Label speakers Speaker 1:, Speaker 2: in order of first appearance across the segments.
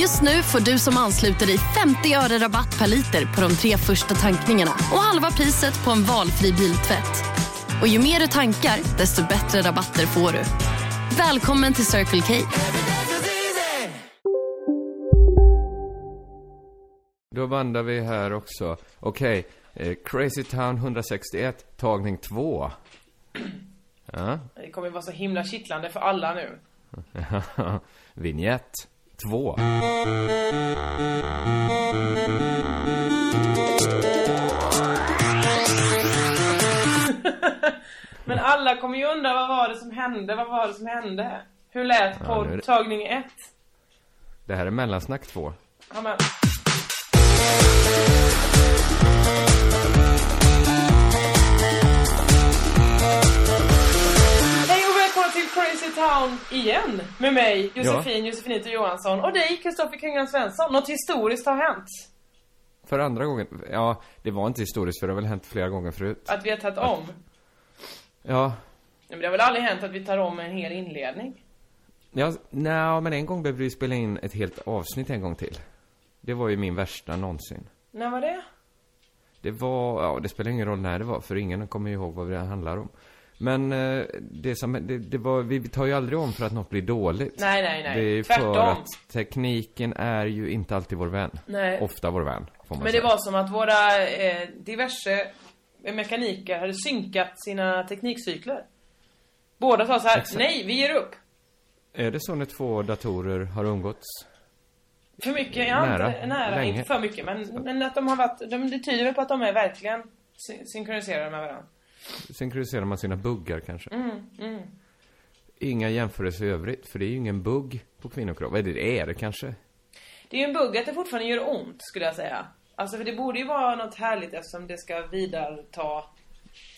Speaker 1: Just nu får du som ansluter dig 50 öre rabatt per liter på de tre första tankningarna och halva priset på en valfri biltvätt. Och ju mer du tankar, desto bättre rabatter får du. Välkommen till Circle K.
Speaker 2: Då vandrar vi här också. Okej, eh, Crazy Town 161, tagning 2. Ja,
Speaker 3: Det kommer ju vara så himla kittlande för alla nu.
Speaker 2: vignett 2.
Speaker 3: Men alla kommer ju undra vad var det som hände, vad var det som hände? Hur lät
Speaker 2: Ja, nu är det-
Speaker 3: poddtagning ett?
Speaker 2: Det här är mellansnack 2.
Speaker 3: Ja, men... Hej och välkomna till Crazy Town igen! Med mig, Josefin Josefinito Johansson och dig, Kristoffer Kringlan Svensson. Något historiskt har hänt.
Speaker 2: För andra gången, ja, det var inte historiskt för det har väl hänt flera gånger förut.
Speaker 3: Att vi har tagit om.
Speaker 2: Ja,
Speaker 3: Nej, Men det har väl aldrig hänt att vi tar om en hel inledning?
Speaker 2: ja nej, men en gång behövde vi spela in ett helt avsnitt en gång till. Det var ju min värsta någonsin.
Speaker 3: När var det?
Speaker 2: Det var, ja det spelar ingen roll när det var för ingen kommer ju ihåg vad det handlar om. Men eh, det som, det, det var, vi tar ju aldrig om för att något blir dåligt.
Speaker 3: Nej, nej, nej.
Speaker 2: Det är ju
Speaker 3: Tvärtom.
Speaker 2: för att tekniken är ju inte alltid vår vän.
Speaker 3: Nej.
Speaker 2: Ofta vår vän, får man
Speaker 3: Men det
Speaker 2: säga.
Speaker 3: var som att våra eh, diverse mekaniker hade synkat sina teknikcykler. Båda sa så här, nej vi ger upp.
Speaker 2: Är det så när två datorer har umgåtts?
Speaker 3: För mycket, jag nära,
Speaker 2: Nära.
Speaker 3: inte, nära
Speaker 2: Länge.
Speaker 3: inte för mycket men, men att de har varit, de, det tyder väl på att de är verkligen sy- synkroniserade med varandra.
Speaker 2: Synkroniserar man sina buggar kanske?
Speaker 3: Mm,
Speaker 2: Inga jämförelser i övrigt, för det är ju ingen bugg på kvinnokropp. Eller det är det kanske?
Speaker 3: Det är ju en bugg att det fortfarande gör ont skulle jag säga. Alltså för det borde ju vara något härligt eftersom det ska vidareta...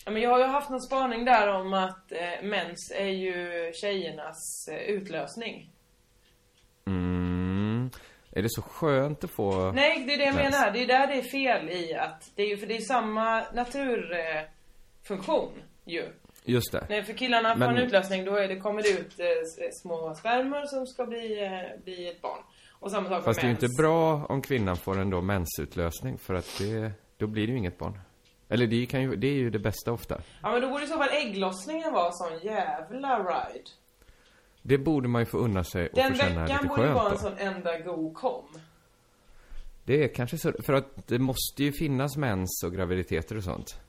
Speaker 3: Ja, men jag har ju haft någon spaning där om att eh, mens är ju tjejernas eh, utlösning.
Speaker 2: Mm. Är det så skönt att få...
Speaker 3: Nej, det är det jag
Speaker 2: Mens.
Speaker 3: menar. Det är där det är fel i att... Det är ju för det är samma naturfunktion eh, funktion ju.
Speaker 2: Just det.
Speaker 3: Nej, för killarna får
Speaker 2: Men-
Speaker 3: en utlösning då är det, kommer det ut eh, s- små spermor som ska bli, eh, bli ett barn. Och samma sak
Speaker 2: Fast det är
Speaker 3: med
Speaker 2: ju inte
Speaker 3: mens.
Speaker 2: bra om kvinnan får en då mensutlösning, för att det... Då blir det ju inget barn. Eller det, kan ju, det är ju det bästa ofta.
Speaker 3: Ja, men då borde i så fall ägglossningen vara sån jävla ride.
Speaker 2: Det borde man ju få unna sig och
Speaker 3: Den
Speaker 2: få känna
Speaker 3: veckan
Speaker 2: lite
Speaker 3: borde ju
Speaker 2: skönt
Speaker 3: vara en
Speaker 2: då.
Speaker 3: sån enda go kom.
Speaker 2: Det är kanske så, för att det måste ju finnas mens och graviditeter och sånt.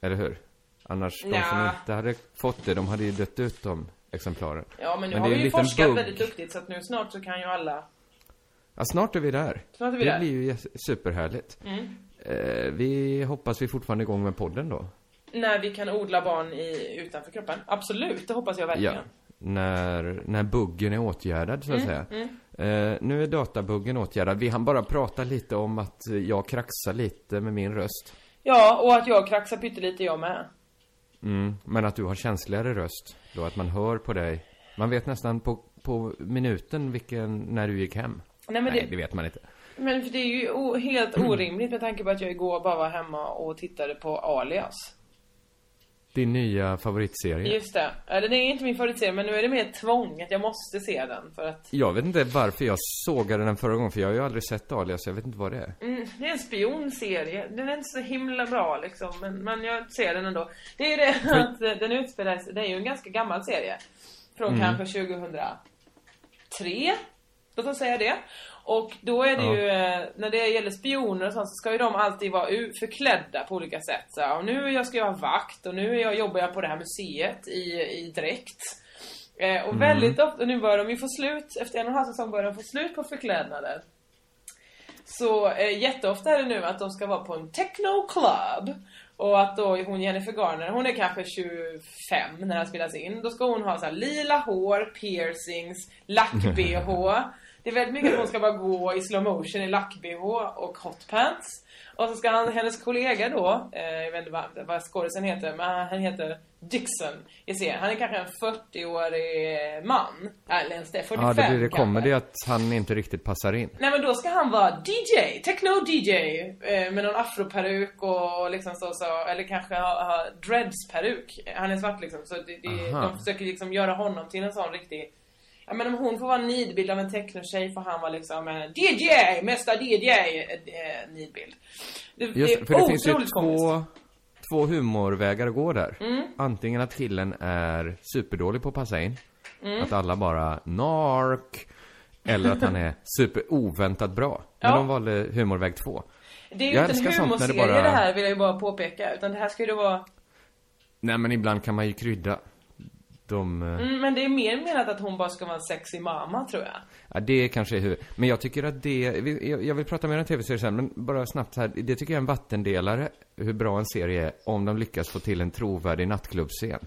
Speaker 2: Eller hur? Annars, de som
Speaker 3: Nja.
Speaker 2: inte hade fått det, de hade ju dött ut de exemplaren.
Speaker 3: Ja, men nu
Speaker 2: Men
Speaker 3: har
Speaker 2: det är en
Speaker 3: vi ju
Speaker 2: liten
Speaker 3: forskat
Speaker 2: bugg.
Speaker 3: väldigt duktigt så att nu snart så kan ju alla...
Speaker 2: Ja, snart är vi där.
Speaker 3: Snart är vi
Speaker 2: det
Speaker 3: där.
Speaker 2: blir ju jäs- superhärligt. Eh, vi hoppas vi är fortfarande igång med podden då.
Speaker 3: När vi kan odla barn i, utanför kroppen. Absolut, det hoppas jag verkligen.
Speaker 2: När, när buggen är åtgärdad, så att
Speaker 3: Mm,
Speaker 2: säga. Eh, nu är databuggen åtgärdad. Vi hann bara prata lite om att eh, jag kraxar lite med min röst.
Speaker 3: Ja, och att jag kraxar pyttelite jag med.
Speaker 2: Mm, men att du har känsligare röst då, att man hör på dig. Man vet nästan på, på minuten vilken, när du gick hem.
Speaker 3: Nej, men
Speaker 2: Nej,
Speaker 3: det-
Speaker 2: det vet man inte.
Speaker 3: Men för det är ju o- helt orimligt med tanke på att jag igår bara var hemma och tittade på Alias.
Speaker 2: Din nya favoritserie.
Speaker 3: Just det. Eller det är inte min favoritserie men nu är det mer tvång att jag måste se den för att...
Speaker 2: Jag vet inte varför jag sågade den förra gången, för jag har ju aldrig sett Alias, jag vet inte vad det är.
Speaker 3: Mm, det är en spionserie. Den är inte så himla bra liksom men, men jag ser den ändå. Det är ju det att eh, den utspelar sig... Det är ju en ganska gammal serie. Från kanske 2003. Låt oss säga det. Och då är det
Speaker 2: Ja.
Speaker 3: ju, eh, när det gäller spioner och sånt så ska ju de alltid vara u- förklädda på olika sätt. Så här, och nu är jag ska jag vara vakt och nu är jag, jobbar jag på det här museet i, i dräkt. Eh, och väldigt ofta, nu börjar de ju få slut, efter en och en halv säsong börjar de få slut på förklädnaden. Så eh, jätteofta är det nu att de ska vara på en techno club. Och att då är hon Jennifer Garner, hon är kanske 25 när den här spelas in. Då ska hon ha så här lila hår, piercings, lack-bh. Det är väldigt mycket att hon ska bara gå i slow motion i lack-bh och hotpants. Och så ska han, hennes kollega då, eh, jag vet inte vad, vad skådisen heter, men han, han heter Dixon i serien. Han är kanske en 40-årig man. Eller ens det, 45
Speaker 2: Ja, det blir det
Speaker 3: kanske.
Speaker 2: kommer det att han inte riktigt passar in.
Speaker 3: Nej men då ska han vara DJ, techno-DJ eh, med någon afroperuk och och liksom så, så eller kanske ha, ha dreads-peruk. Han är svart liksom så det, det,
Speaker 2: Aha.
Speaker 3: de försöker liksom göra honom till en sån riktig Ja men om hon får vara en nidbild av en techno-tjej får han vara liksom en DJ, mesta DJ eh, nidbild. Det, det
Speaker 2: Just,
Speaker 3: är
Speaker 2: för det
Speaker 3: otroligt
Speaker 2: finns ju
Speaker 3: komiskt. Mm.
Speaker 2: två, två humorvägar att gå där. Antingen att killen är superdålig på att passa in.
Speaker 3: Mm.
Speaker 2: Att alla bara nark. Eller att han är superoväntat bra. Men
Speaker 3: Ja.
Speaker 2: de valde humorväg två.
Speaker 3: Det är ju
Speaker 2: Jag
Speaker 3: inte
Speaker 2: älskar
Speaker 3: en
Speaker 2: sånt när det
Speaker 3: humorserie
Speaker 2: bara-
Speaker 3: det här vill jag ju bara påpeka utan det här ska ju då vara
Speaker 2: Nej men ibland kan man ju krydda. De, eh,
Speaker 3: mm, Men det är mer menat att hon bara ska vara en sexy mamma tror jag.
Speaker 2: ja, det kanske är huvud. Men jag tycker att det, vi- jag jag vill prata mer om tv-serier sen, men bara snabbt här. Det tycker jag är en vattendelare, hur bra en serie är, om de lyckas få till en trovärdig nattklubbscen.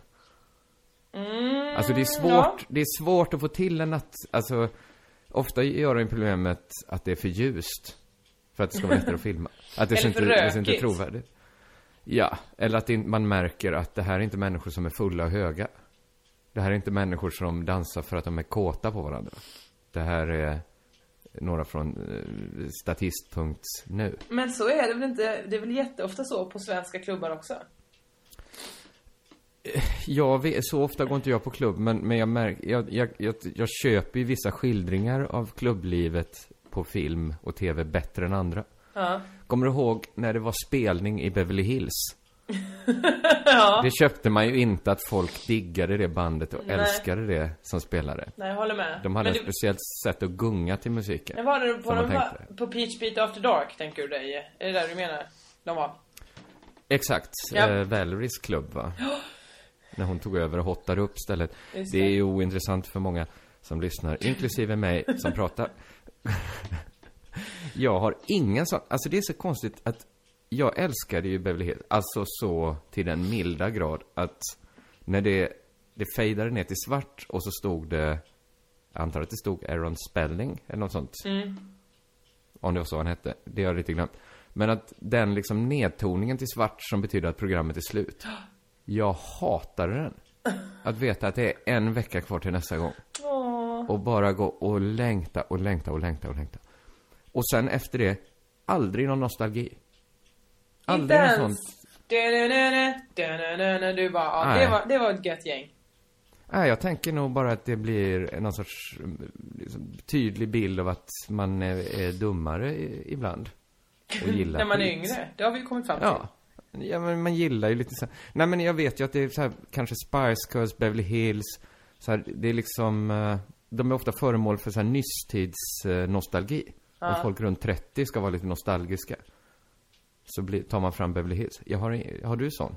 Speaker 2: Alltså det är svårt,
Speaker 3: Mm, ja.
Speaker 2: det är svårt att få till en natt, alltså ofta gör de problemet att det är för ljust. För att det ska vara lättare att filma. Att det
Speaker 3: Eller
Speaker 2: ser inte,
Speaker 3: för
Speaker 2: det ser inte
Speaker 3: rökigt.
Speaker 2: trovärdigt. Ja, eller att det, in- man märker att det här är inte människor som är fulla och höga. Det här är inte människor som dansar för att de är kåta på varandra. Det här är några från eh, statist.nu.
Speaker 3: Men så är det väl inte, det är väl jätteofta så på svenska klubbar också?
Speaker 2: Jag vet, så ofta går inte jag på klubb, men, men jag, märker, jag, jag, jag, jag köper ju vissa skildringar av klubblivet på film och tv bättre än andra.
Speaker 3: Ja.
Speaker 2: Kommer du ihåg när det var spelning i Beverly Hills? Det köpte man ju inte att folk diggade det bandet och
Speaker 3: Nej.
Speaker 2: älskade det som spelare.
Speaker 3: Nej, jag håller med.
Speaker 2: De hade
Speaker 3: Men
Speaker 2: ett
Speaker 3: du,
Speaker 2: speciellt sätt att gunga till musiken.
Speaker 3: men var det på,
Speaker 2: som man
Speaker 3: de var,
Speaker 2: tänkte.
Speaker 3: på Peach Beat After Dark, tänker du dig? Är det där du menar? De var?
Speaker 2: Exakt.
Speaker 3: Ja.
Speaker 2: Eh, Valeries klubb, va? När hon tog över och hottade upp stället.
Speaker 3: Just
Speaker 2: Det är
Speaker 3: det.
Speaker 2: ju ointressant för många som lyssnar, inklusive mig som pratar. jag har ingen sån... Alltså det är så konstigt att jag älskade ju Beverly Hills, alltså så till den milda grad att när det, det fejdade ner till svart och så stod det, jag antar att det stod Aaron Spelling eller något sånt.
Speaker 3: Mm.
Speaker 2: Om det var så han hette. Det har jag lite glömt. Men att den liksom nedtoningen till svart som betyder att programmet är slut. Jag hatade den. Att veta att det är en vecka kvar till nästa gång. Och bara gå och längta och längta och längta och längta. Och sen efter det, aldrig någon nostalgi.
Speaker 3: Inte
Speaker 2: Aldrig något
Speaker 3: ens...
Speaker 2: sånt.
Speaker 3: Da-da-da-da, da-da-da-da. Du bara, ja,
Speaker 2: Nej.
Speaker 3: det, var, det var ett gött gäng.
Speaker 2: Nej, jag tänker nog bara att det blir någon sorts eh, liksom, tydlig bild av att man är, är dummare i- ibland. Och gillar
Speaker 3: När man är
Speaker 2: skit.
Speaker 3: yngre. Det har vi ju kommit fram till.
Speaker 2: Ja. Ja, men man gillar ju lite så här. Nej, men jag vet ju att det är så här, kanske Spice Girls, Beverly Hills. Så här, det är liksom, eh, de är ofta föremål för så här nystids eh, nostalgi. Om folk runt 30 ska vara lite nostalgiska. Så blir, tar man fram Beverly Hills. Jag har, en- har du sån?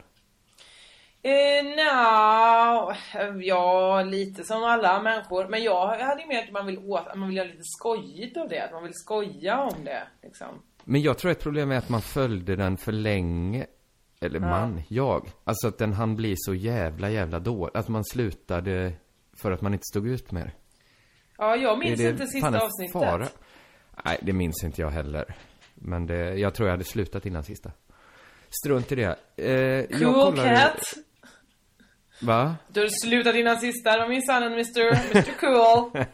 Speaker 3: Eh, nja, ja lite som alla människor. Men jag hade ju mer att man vill, åt, att man vill göra lite skojigt av det. Att man vill skoja om det. Liksom.
Speaker 2: Men jag tror ett problem är att man följde den för länge. Eller man, jag. Alltså att den han blir så jävla, jävla dålig. Att man slutade för att man inte stod ut med det.
Speaker 3: Ja, jag minns
Speaker 2: Är det
Speaker 3: inte
Speaker 2: fan
Speaker 3: sista
Speaker 2: en
Speaker 3: avsnittet.
Speaker 2: fara? Nej, det minns inte jag heller. Men det, jag tror jag hade slutat innan sista. Strunt i det. Eh, jag
Speaker 3: Cool
Speaker 2: kollar ju-
Speaker 3: cat.
Speaker 2: Va?
Speaker 3: Du har slutat innan sista, det var minsann en Mr. Mr Cool.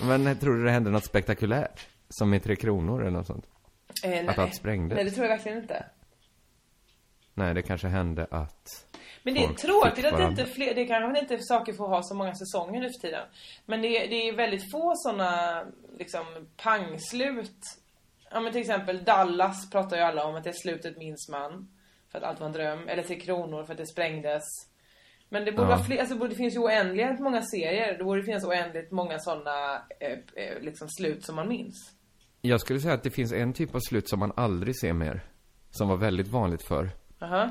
Speaker 2: Men tror du det hände något spektakulärt? Som i Tre Kronor eller något sånt?
Speaker 3: Eh, nej.
Speaker 2: Att allt sprängdes?
Speaker 3: Nej, det tror jag verkligen inte.
Speaker 2: Nej, det kanske hände att...
Speaker 3: Men det är
Speaker 2: Folk
Speaker 3: tråkigt
Speaker 2: fick
Speaker 3: att det
Speaker 2: varandra.
Speaker 3: inte fler, det kanske inte saker får ha så många säsonger nu för tiden. Men det, är- det är väldigt få såna liksom pangslut. Ja men till exempel Dallas pratar ju alla om att det slutet minns man. För att allt var en dröm. Eller Tre Kronor för att det sprängdes. Men det borde
Speaker 2: Ja.
Speaker 3: vara fler, alltså det borde- det finns ju oändligt många serier. Det borde finnas oändligt många såna eh, eh, liksom slut som man minns.
Speaker 2: Jag skulle säga att det finns en typ av slut som man aldrig ser mer. Som var väldigt vanligt förr.
Speaker 3: Aha.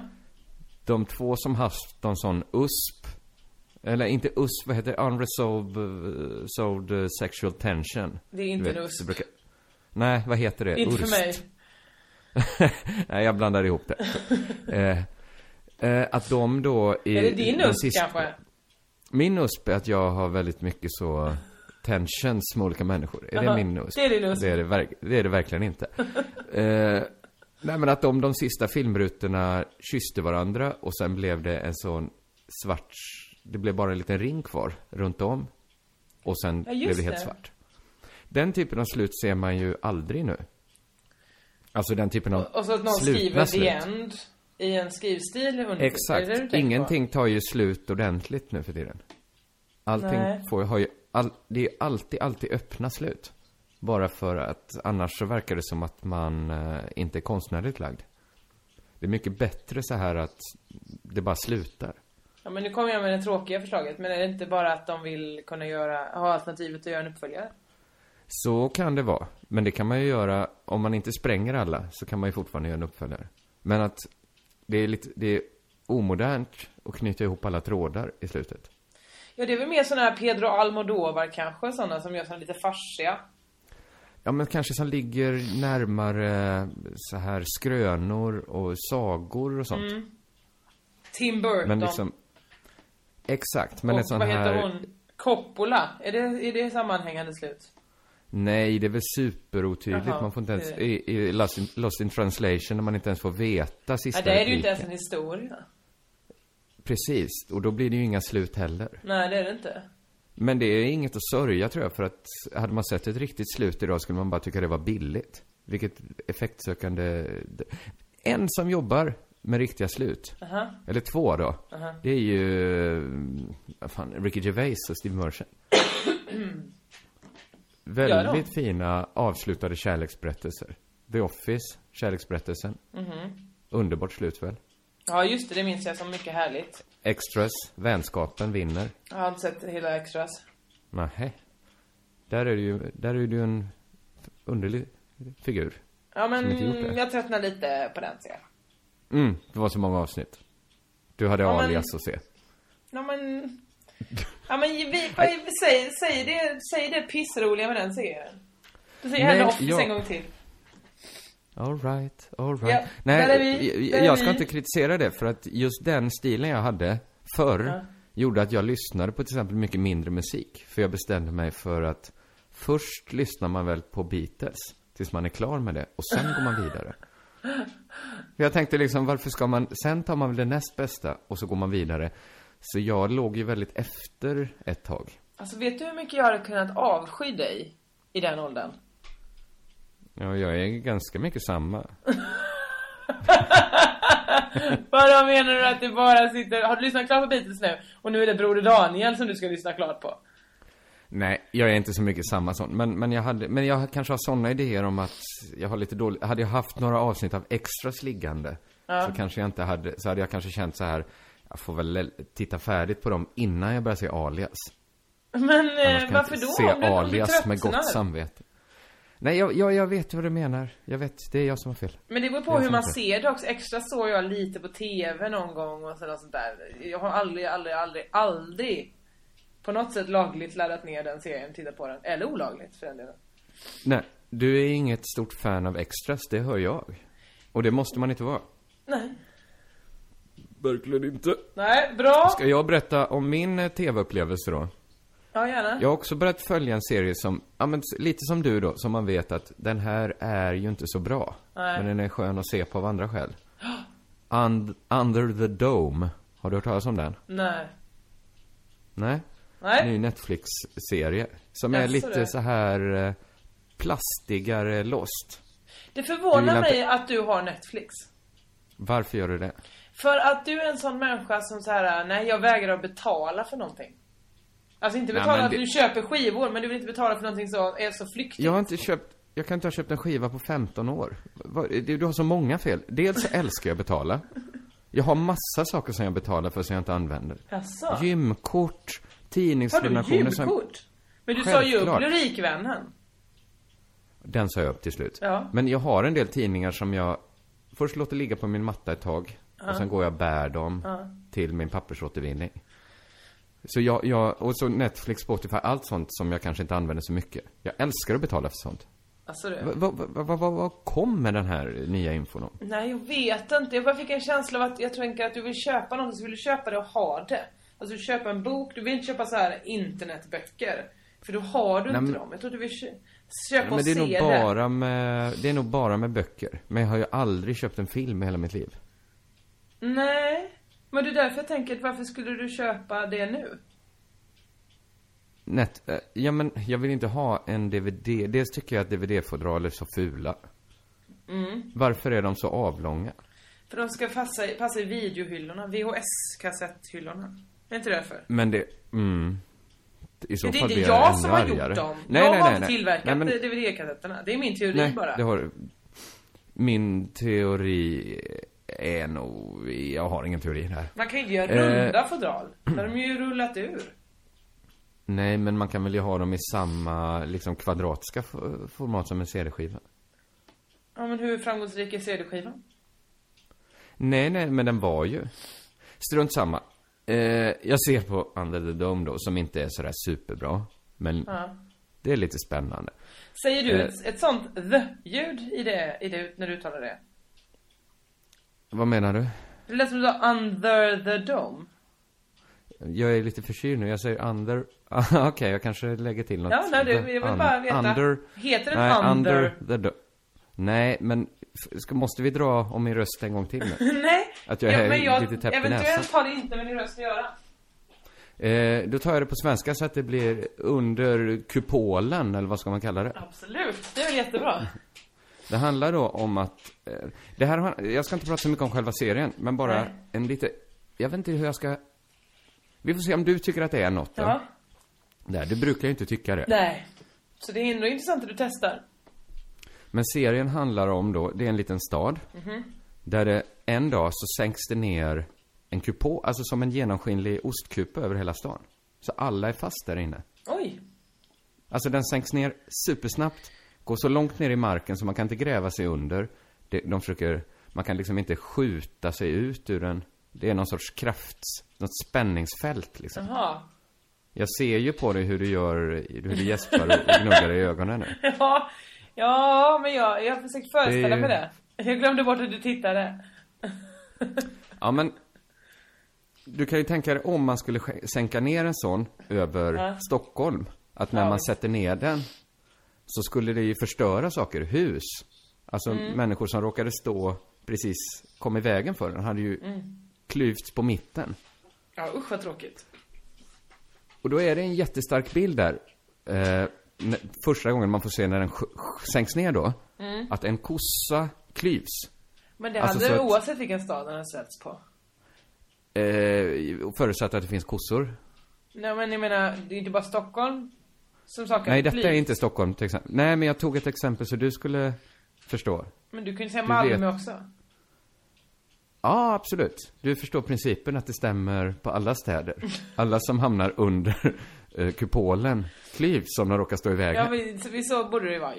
Speaker 2: De två som haft någon sån USP. Eller inte USP, vad heter det? Unresolved eh, solved, eh, sexual tension.
Speaker 3: Det är inte
Speaker 2: Du
Speaker 3: en USP.
Speaker 2: det Brukar... Nej, vad heter det?
Speaker 3: Inte för
Speaker 2: URST.
Speaker 3: mig.
Speaker 2: Nej, jag blandar ihop det. eh, eh, att de då i...
Speaker 3: Är det din
Speaker 2: den
Speaker 3: USP
Speaker 2: sista-
Speaker 3: kanske?
Speaker 2: Min USP är att jag har väldigt mycket så tensions med olika människor. Är
Speaker 3: Aha,
Speaker 2: det min USP?
Speaker 3: det är din USP.
Speaker 2: Det är det, verk- det, är det verkligen inte. eh, nej men att de de sista filmrutorna kysste varandra och sen blev det en sån svart, det blev bara en liten ring kvar runt om. Och sen
Speaker 3: Ja, just
Speaker 2: blev det helt
Speaker 3: det.
Speaker 2: svart. Den typen av slut ser man ju aldrig nu. Alltså den typen av
Speaker 3: Och så att någon
Speaker 2: slutna
Speaker 3: skriver
Speaker 2: slut.
Speaker 3: the end i en skrivstil under. Är det det du
Speaker 2: Exakt.
Speaker 3: tänker
Speaker 2: Ingenting tar ju slut ordentligt nu för tiden. Allting
Speaker 3: Nej.
Speaker 2: får, har ju, all, det är ju alltid, alltid öppna slut. Bara för att annars så verkar det som att man eh, inte är konstnärligt lagd. Det är mycket bättre så här att det bara slutar.
Speaker 3: På? Ja, men nu kommer jag med det tråkiga förslaget. Men är det inte bara att de vill kunna göra, ha alternativet att göra en uppföljare?
Speaker 2: Så kan det vara. Men det kan man ju göra, om man inte spränger alla, så kan man ju fortfarande göra en uppföljare. Men att det är lite, det är omodernt att knyta ihop alla trådar i slutet.
Speaker 3: Ja, det är väl mer sådana här Pedro Almodovar kanske, sådana som gör sådana lite farsiga.
Speaker 2: Ja, men kanske som ligger närmare så här skrönor och sagor och sånt.
Speaker 3: Mm. Tim Burton.
Speaker 2: men liksom... Exakt, men
Speaker 3: och
Speaker 2: ett sånt
Speaker 3: vad heter
Speaker 2: här...
Speaker 3: hon? Coppola. Är det, är det sammanhängande slut?
Speaker 2: Nej, det är väl superotydligt.
Speaker 3: Jaha,
Speaker 2: man får inte ens...
Speaker 3: det är det.
Speaker 2: I, i Lost, in, Lost in translation, när man inte ens får veta sista
Speaker 3: Ja, det är det ju inte
Speaker 2: repliken.
Speaker 3: ens en historia.
Speaker 2: Precis, och då blir det ju inga slut heller.
Speaker 3: Nej, det är det inte.
Speaker 2: Men det är inget att sörja tror jag, för att hade man sett ett riktigt slut idag skulle man bara tycka det var billigt. Vilket effektsökande... En som jobbar med riktiga slut.
Speaker 3: Aha.
Speaker 2: Eller två då.
Speaker 3: Uh-huh.
Speaker 2: Det är ju, mm, vad fan, Ricky Gervais och Steve Merchant. Väldigt fina avslutade kärleksberättelser. The Office, kärleksberättelsen.
Speaker 3: Mm-hmm.
Speaker 2: Underbart slut väl?
Speaker 3: Ja, just det. Det minns jag som mycket härligt.
Speaker 2: Extras, vänskapen vinner.
Speaker 3: Jag har inte sett hela Extras.
Speaker 2: Nähä. Där är du ju, där är du ju en underlig figur.
Speaker 3: Ja,
Speaker 2: Som inte gjort
Speaker 3: men
Speaker 2: det.
Speaker 3: jag tröttnar lite på den ser jag.
Speaker 2: Mm, det var så många avsnitt. Du hade
Speaker 3: Ja, men-
Speaker 2: alias att se.
Speaker 3: Ja, men... Ja, men vi, vad, säg, säg, det, säg det pissroliga med den serien. Du säger
Speaker 2: Nej,
Speaker 3: henne Office
Speaker 2: jag-
Speaker 3: en gång till.
Speaker 2: Alright, alright.
Speaker 3: Ja,
Speaker 2: Nej,
Speaker 3: där är vi,
Speaker 2: jag,
Speaker 3: där är
Speaker 2: jag ska
Speaker 3: vi.
Speaker 2: inte kritisera det för att just den stilen jag hade förr
Speaker 3: Ja.
Speaker 2: gjorde att jag lyssnade på till exempel mycket mindre musik. För jag bestämde mig för att först lyssnar man väl på Beatles tills man är klar med det och sen går man vidare. För jag tänkte liksom, varför ska man, sen tar man väl det näst bästa och så går man vidare. Så jag låg ju väldigt efter ett tag.
Speaker 3: Alltså, vet du hur mycket jag hade kunnat avsky dig i den åldern?
Speaker 2: Ja, jag är ganska mycket samma.
Speaker 3: Vadå menar du att det bara sitter... Har du lyssnat klart på Beatles nu? Och nu är det Broder Daniel som du ska lyssna klart på.
Speaker 2: Nej, jag är inte så mycket samma sån. Men, men, jag, hade, men jag kanske har såna idéer om att jag har lite dålig... Hade jag haft några avsnitt av extras liggande så kanske jag inte hade... Så hade jag kanske känt så här, jag får väl l- titta färdigt på dem innan jag börjar se Alias.
Speaker 3: Men
Speaker 2: Annars
Speaker 3: eh,
Speaker 2: kan
Speaker 3: varför
Speaker 2: jag inte
Speaker 3: då?
Speaker 2: se
Speaker 3: Om du- om du
Speaker 2: Alias med
Speaker 3: tröttnar?
Speaker 2: gott samvete. Nej, jag, jag, jag vet vad du menar. Jag vet, det är jag som har fel.
Speaker 3: Men det beror på
Speaker 2: Jag
Speaker 3: hur
Speaker 2: tror
Speaker 3: man
Speaker 2: inte.
Speaker 3: ser det också. Extra såg jag lite på TV någon gång och sådär, sånt där. Jag har aldrig, aldrig, aldrig, aldrig på något sätt lagligt laddat ner den serien, tittat på den. Eller olagligt för den delen.
Speaker 2: Nej, du är inget stort fan av extras, det hör jag. Och det måste man inte vara.
Speaker 3: Nej.
Speaker 2: Verkligen inte.
Speaker 3: Nej, bra.
Speaker 2: Ska jag berätta om min eh, tv-upplevelse då?
Speaker 3: Ja, gärna.
Speaker 2: Jag har också börjat följa en serie som, ja men s- lite som du då, som man vet att den här är ju inte så bra.
Speaker 3: Nej.
Speaker 2: Men den är skön att se på av andra skäl. Und, under the Dome. Har du hört talas om den?
Speaker 3: Nej.
Speaker 2: Nej?
Speaker 3: Nej.
Speaker 2: Ny Netflix-serie. Som är
Speaker 3: Jaså,
Speaker 2: lite
Speaker 3: du.
Speaker 2: så här eh, plastigare lost.
Speaker 3: Det
Speaker 2: Du
Speaker 3: förvånar
Speaker 2: gillar
Speaker 3: mig att du har Netflix.
Speaker 2: Varför gör du det?
Speaker 3: För att du är en sån människa som så här, nej jag vägrar att betala för någonting. Alltså inte
Speaker 2: Nej,
Speaker 3: betala
Speaker 2: men
Speaker 3: att
Speaker 2: det-
Speaker 3: du köper skivor men du vill inte betala för någonting som är så flyktigt.
Speaker 2: Jag har inte köpt, jag kan inte ha köpt en skiva på 15 år. Vad- Du du har så många fel. Dels så älskar jag att betala. Jag har massa saker som jag betalar för som jag inte använder.
Speaker 3: Jaså?
Speaker 2: Gymkort,
Speaker 3: Har du
Speaker 2: tidningsprenumerationer som...
Speaker 3: gymkort? Men du sa ju upp
Speaker 2: Självklart.
Speaker 3: Lyrikvännen.
Speaker 2: Den sa jag upp till slut.
Speaker 3: Ja.
Speaker 2: Men jag har en del tidningar som jag först låter ligga på min matta ett tag. Och sen går jag och bär dem till min pappersåtervinning. Så jag, jag, och så Netflix, Spotify, allt sånt som jag kanske inte använder så mycket. Jag älskar att betala för sånt.
Speaker 3: Alltså du.
Speaker 2: Vad va, va, va, va, va kommer den här nya infon om?
Speaker 3: Nej jag vet inte, jag bara fick en känsla av att jag tänker att du vill köpa någonting så vill du köpa det och ha det. Alltså du köper en bok, du vill inte köpa så här internetböcker. För då har du
Speaker 2: Nej,
Speaker 3: inte
Speaker 2: men-
Speaker 3: dem. Jag tror du vill kö- köpa
Speaker 2: Men
Speaker 3: och
Speaker 2: det är, nog
Speaker 3: se det.
Speaker 2: bara med, det är nog bara med böcker. Men jag har ju aldrig köpt en film i hela mitt liv.
Speaker 3: Nej. Men det är därför jag tänker, varför skulle du köpa det nu?
Speaker 2: Nät, eh, ja men jag vill inte ha en DVD. Dels tycker jag att DVD-fodral är så fula.
Speaker 3: Mm.
Speaker 2: Varför är de så avlånga?
Speaker 3: För de ska passa, i- passa i videohyllorna, VHS-kassetthyllorna. Är inte därför?
Speaker 2: Men det, mm. I så
Speaker 3: Det är
Speaker 2: fall
Speaker 3: inte
Speaker 2: blir
Speaker 3: jag
Speaker 2: ännu
Speaker 3: som har
Speaker 2: argare.
Speaker 3: gjort dem.
Speaker 2: Nej,
Speaker 3: jag
Speaker 2: nej,
Speaker 3: har
Speaker 2: nej,
Speaker 3: inte
Speaker 2: nej.
Speaker 3: tillverkat
Speaker 2: nej, men,
Speaker 3: DVD-kassetterna. Det är min teori
Speaker 2: nej,
Speaker 3: bara.
Speaker 2: det har Min teori är nog, jag har ingen teori här.
Speaker 3: Man kan ju inte göra
Speaker 2: Eh.
Speaker 3: runda fodral. Där har de ju rullat ur.
Speaker 2: Nej, men man kan väl ju ha dem i samma, liksom kvadratiska f- format som en CD-skiva.
Speaker 3: Ja men hur framgångsrik är CD-skivan?
Speaker 2: Nej, nej, men den var ju. Strunt samma. Eh, jag ser på Under the Dome då, som inte är sådär superbra. Men
Speaker 3: Ja.
Speaker 2: det är lite spännande.
Speaker 3: Säger du
Speaker 2: Eh.
Speaker 3: ett, ett sånt the-ljud i det, i det, när du uttalar det?
Speaker 2: Vad menar du?
Speaker 3: Det lät som du sa under the dome.
Speaker 2: Jag är lite förkyld nu, jag säger under... Ah, Okej, jag kanske lägger till något.
Speaker 3: Ja, nej, du, jag vill
Speaker 2: Un-
Speaker 3: bara veta.
Speaker 2: Under...
Speaker 3: Heter den
Speaker 2: Nej,
Speaker 3: under?
Speaker 2: under the do- Nej, men f- ska, måste vi dra om min röst en gång till nu?
Speaker 3: Nej,
Speaker 2: Att jag är
Speaker 3: men
Speaker 2: lite täppt i
Speaker 3: Eventuellt
Speaker 2: näsan.
Speaker 3: har det inte med din röst att göra.
Speaker 2: Eh, då tar jag det på svenska så att det blir under kupolen, eller vad ska man kalla det?
Speaker 3: Absolut, det är väl jättebra.
Speaker 2: Det handlar då om att, eh, det här har, jag ska inte prata så mycket om själva serien, men bara
Speaker 3: Nej.
Speaker 2: en lite, jag vet inte hur jag ska, vi får se om du tycker att det är något.
Speaker 3: Ja.
Speaker 2: Där, du brukar ju inte tycka det.
Speaker 3: Nej. Så det är ändå intressant att du testar.
Speaker 2: Men serien handlar om då, det är en liten stad.
Speaker 3: Mhm.
Speaker 2: Där det en dag så sänks det ner en kupol, alltså som en genomskinlig ostkupa över hela stan. Så alla är fast där inne.
Speaker 3: Oj.
Speaker 2: Alltså den sänks ner supersnabbt, går så långt ner i marken så man kan inte gräva sig under. De, de försöker, man kan liksom inte skjuta sig ut ur den. Det är någon sorts kraft, något spänningsfält liksom.
Speaker 3: Jaha.
Speaker 2: Jag ser ju på dig hur du gör, hur du gäspar och gnuggar dig i ögonen nu.
Speaker 3: Ja, ja men jag, jag har försökt föreställa
Speaker 2: Det-
Speaker 3: mig det. Jag glömde bort att du tittade.
Speaker 2: Ja men, du kan ju tänka dig om man skulle sk- sänka ner en sån över
Speaker 3: Ja.
Speaker 2: Stockholm. Att när
Speaker 3: Ja,
Speaker 2: man
Speaker 3: visst.
Speaker 2: sätter ner den så skulle det ju förstöra saker, hus. Alltså
Speaker 3: Mm.
Speaker 2: människor som råkade stå precis, kom i vägen för den, hade ju
Speaker 3: Mm.
Speaker 2: klyvts på mitten.
Speaker 3: Ja usch vad tråkigt.
Speaker 2: Och då är det en jättestark bild där. Eh, n- första gången man får se när den sj- sj- sänks ner då.
Speaker 3: Mm.
Speaker 2: Att en kossa klyvs.
Speaker 3: Men det
Speaker 2: Alltså,
Speaker 3: hade
Speaker 2: så att-
Speaker 3: oavsett vilken stad den hade släppts på.
Speaker 2: Eh, förutsatt att det finns kossor.
Speaker 3: Nej men jag menar, det är inte bara Stockholm som saker
Speaker 2: Nej, detta
Speaker 3: flyg.
Speaker 2: är inte Stockholm till exempel. Nej, men jag tog ett exempel så du skulle förstå.
Speaker 3: Men du kunde säga
Speaker 2: Du
Speaker 3: Malmö
Speaker 2: vet.
Speaker 3: också.
Speaker 2: Ja, absolut. Du förstår principen att det stämmer på alla städer. Alla som hamnar under eh, kupolen klyvs om de råkar stå i vägen.
Speaker 3: Ja
Speaker 2: men...
Speaker 3: men så, vi- så borde det vara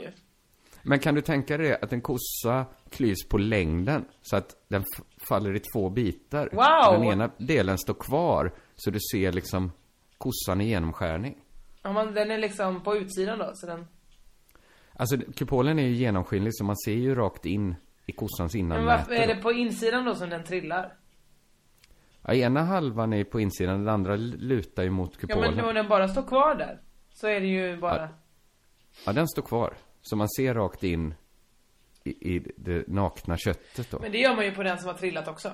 Speaker 3: ju.
Speaker 2: kan du tänka dig att en kossa klyvs på längden så att den f- faller i två bitar?
Speaker 3: Wow!
Speaker 2: Den ena delen står kvar så du ser liksom kossan i genomskärning.
Speaker 3: Ja, man, den är liksom på utsidan då så den...
Speaker 2: Alltså kupolen är ju genomskinlig så man ser ju rakt in i kossans
Speaker 3: Men
Speaker 2: innanmäte.
Speaker 3: varför är det på insidan då som den trillar?
Speaker 2: Ja, ena halvan är ju på insidan, den andra lutar ju mot
Speaker 3: Ja
Speaker 2: kupolen.
Speaker 3: men om den bara står kvar där. Så är det ju bara...
Speaker 2: Ja, den står kvar. Så man ser rakt in i, i det nakna köttet då.
Speaker 3: Men det gör man ju på den som har trillat också.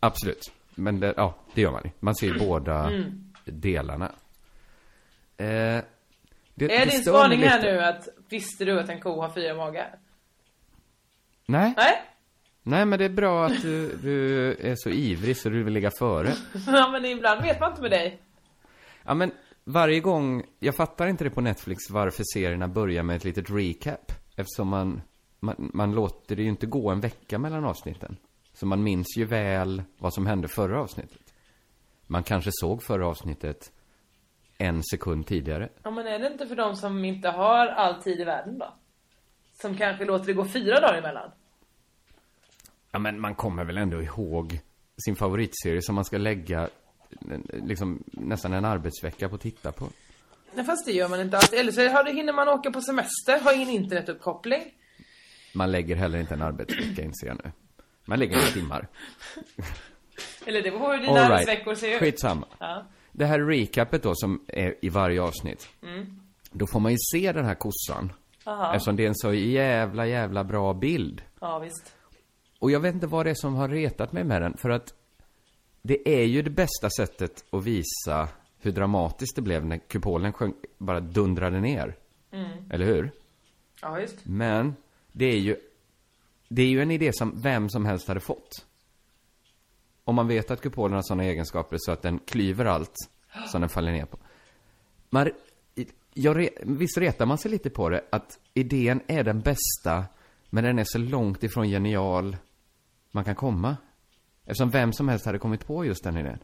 Speaker 2: Absolut. Men det, ja, det gör man ju. Man ser ju båda delarna. Eh, det,
Speaker 3: Mm. Är
Speaker 2: det
Speaker 3: din
Speaker 2: stör mig
Speaker 3: spaning här
Speaker 2: lite.
Speaker 3: nu att visste du att en ko har fyra magar?
Speaker 2: Nej,
Speaker 3: Nej?
Speaker 2: nej, men det är bra att du, du är så ivrig så du vill ligga före.
Speaker 3: Ja men ibland vet man inte med dig.
Speaker 2: Ja, men varje gång, jag fattar inte det på Netflix varför serierna börjar med ett litet recap. Eftersom man, man, man låter det ju inte gå en vecka mellan avsnitten. Så man minns ju väl vad som hände förra avsnittet. Man kanske såg förra avsnittet en sekund tidigare.
Speaker 3: Ja men är det inte för de som inte har all tid i världen då? Som kanske låter det gå fyra dagar emellan?
Speaker 2: Ja, men man kommer väl ändå ihåg sin favoritserie som man ska lägga eh, liksom nästan en arbetsvecka på att titta på.
Speaker 3: Nej fast det gör man inte alltid. Eller så har- hinner man åka på semester, har ingen internetuppkoppling.
Speaker 2: Man lägger heller inte en arbetsvecka inser jag nu. Man lägger några timmar.
Speaker 3: Eller det beror på hur dina
Speaker 2: All right.
Speaker 3: arbetsveckor ser ut.
Speaker 2: Skitsamma.
Speaker 3: Ja.
Speaker 2: det här recapet då som är i varje avsnitt. Då får man ju se den här kossan.
Speaker 3: Aha.
Speaker 2: Eftersom det är en så jävla, jävla bra bild.
Speaker 3: Ja, visst.
Speaker 2: Och jag vet inte vad det är som har retat mig med den, för att det är ju det bästa sättet att visa hur dramatiskt det blev när kupolen sjönk, bara dundrade ner. Eller hur?
Speaker 3: Ja, visst.
Speaker 2: Men det är ju Det är ju en idé som vem som helst hade fått. Om man vet att kupolen har sådana egenskaper så att den klyver allt som den faller ner på. Man, jag, re- visst retar man sig lite på det att idén är den bästa men den är så långt ifrån genial man kan komma. Eftersom vem som helst hade kommit på just den idén.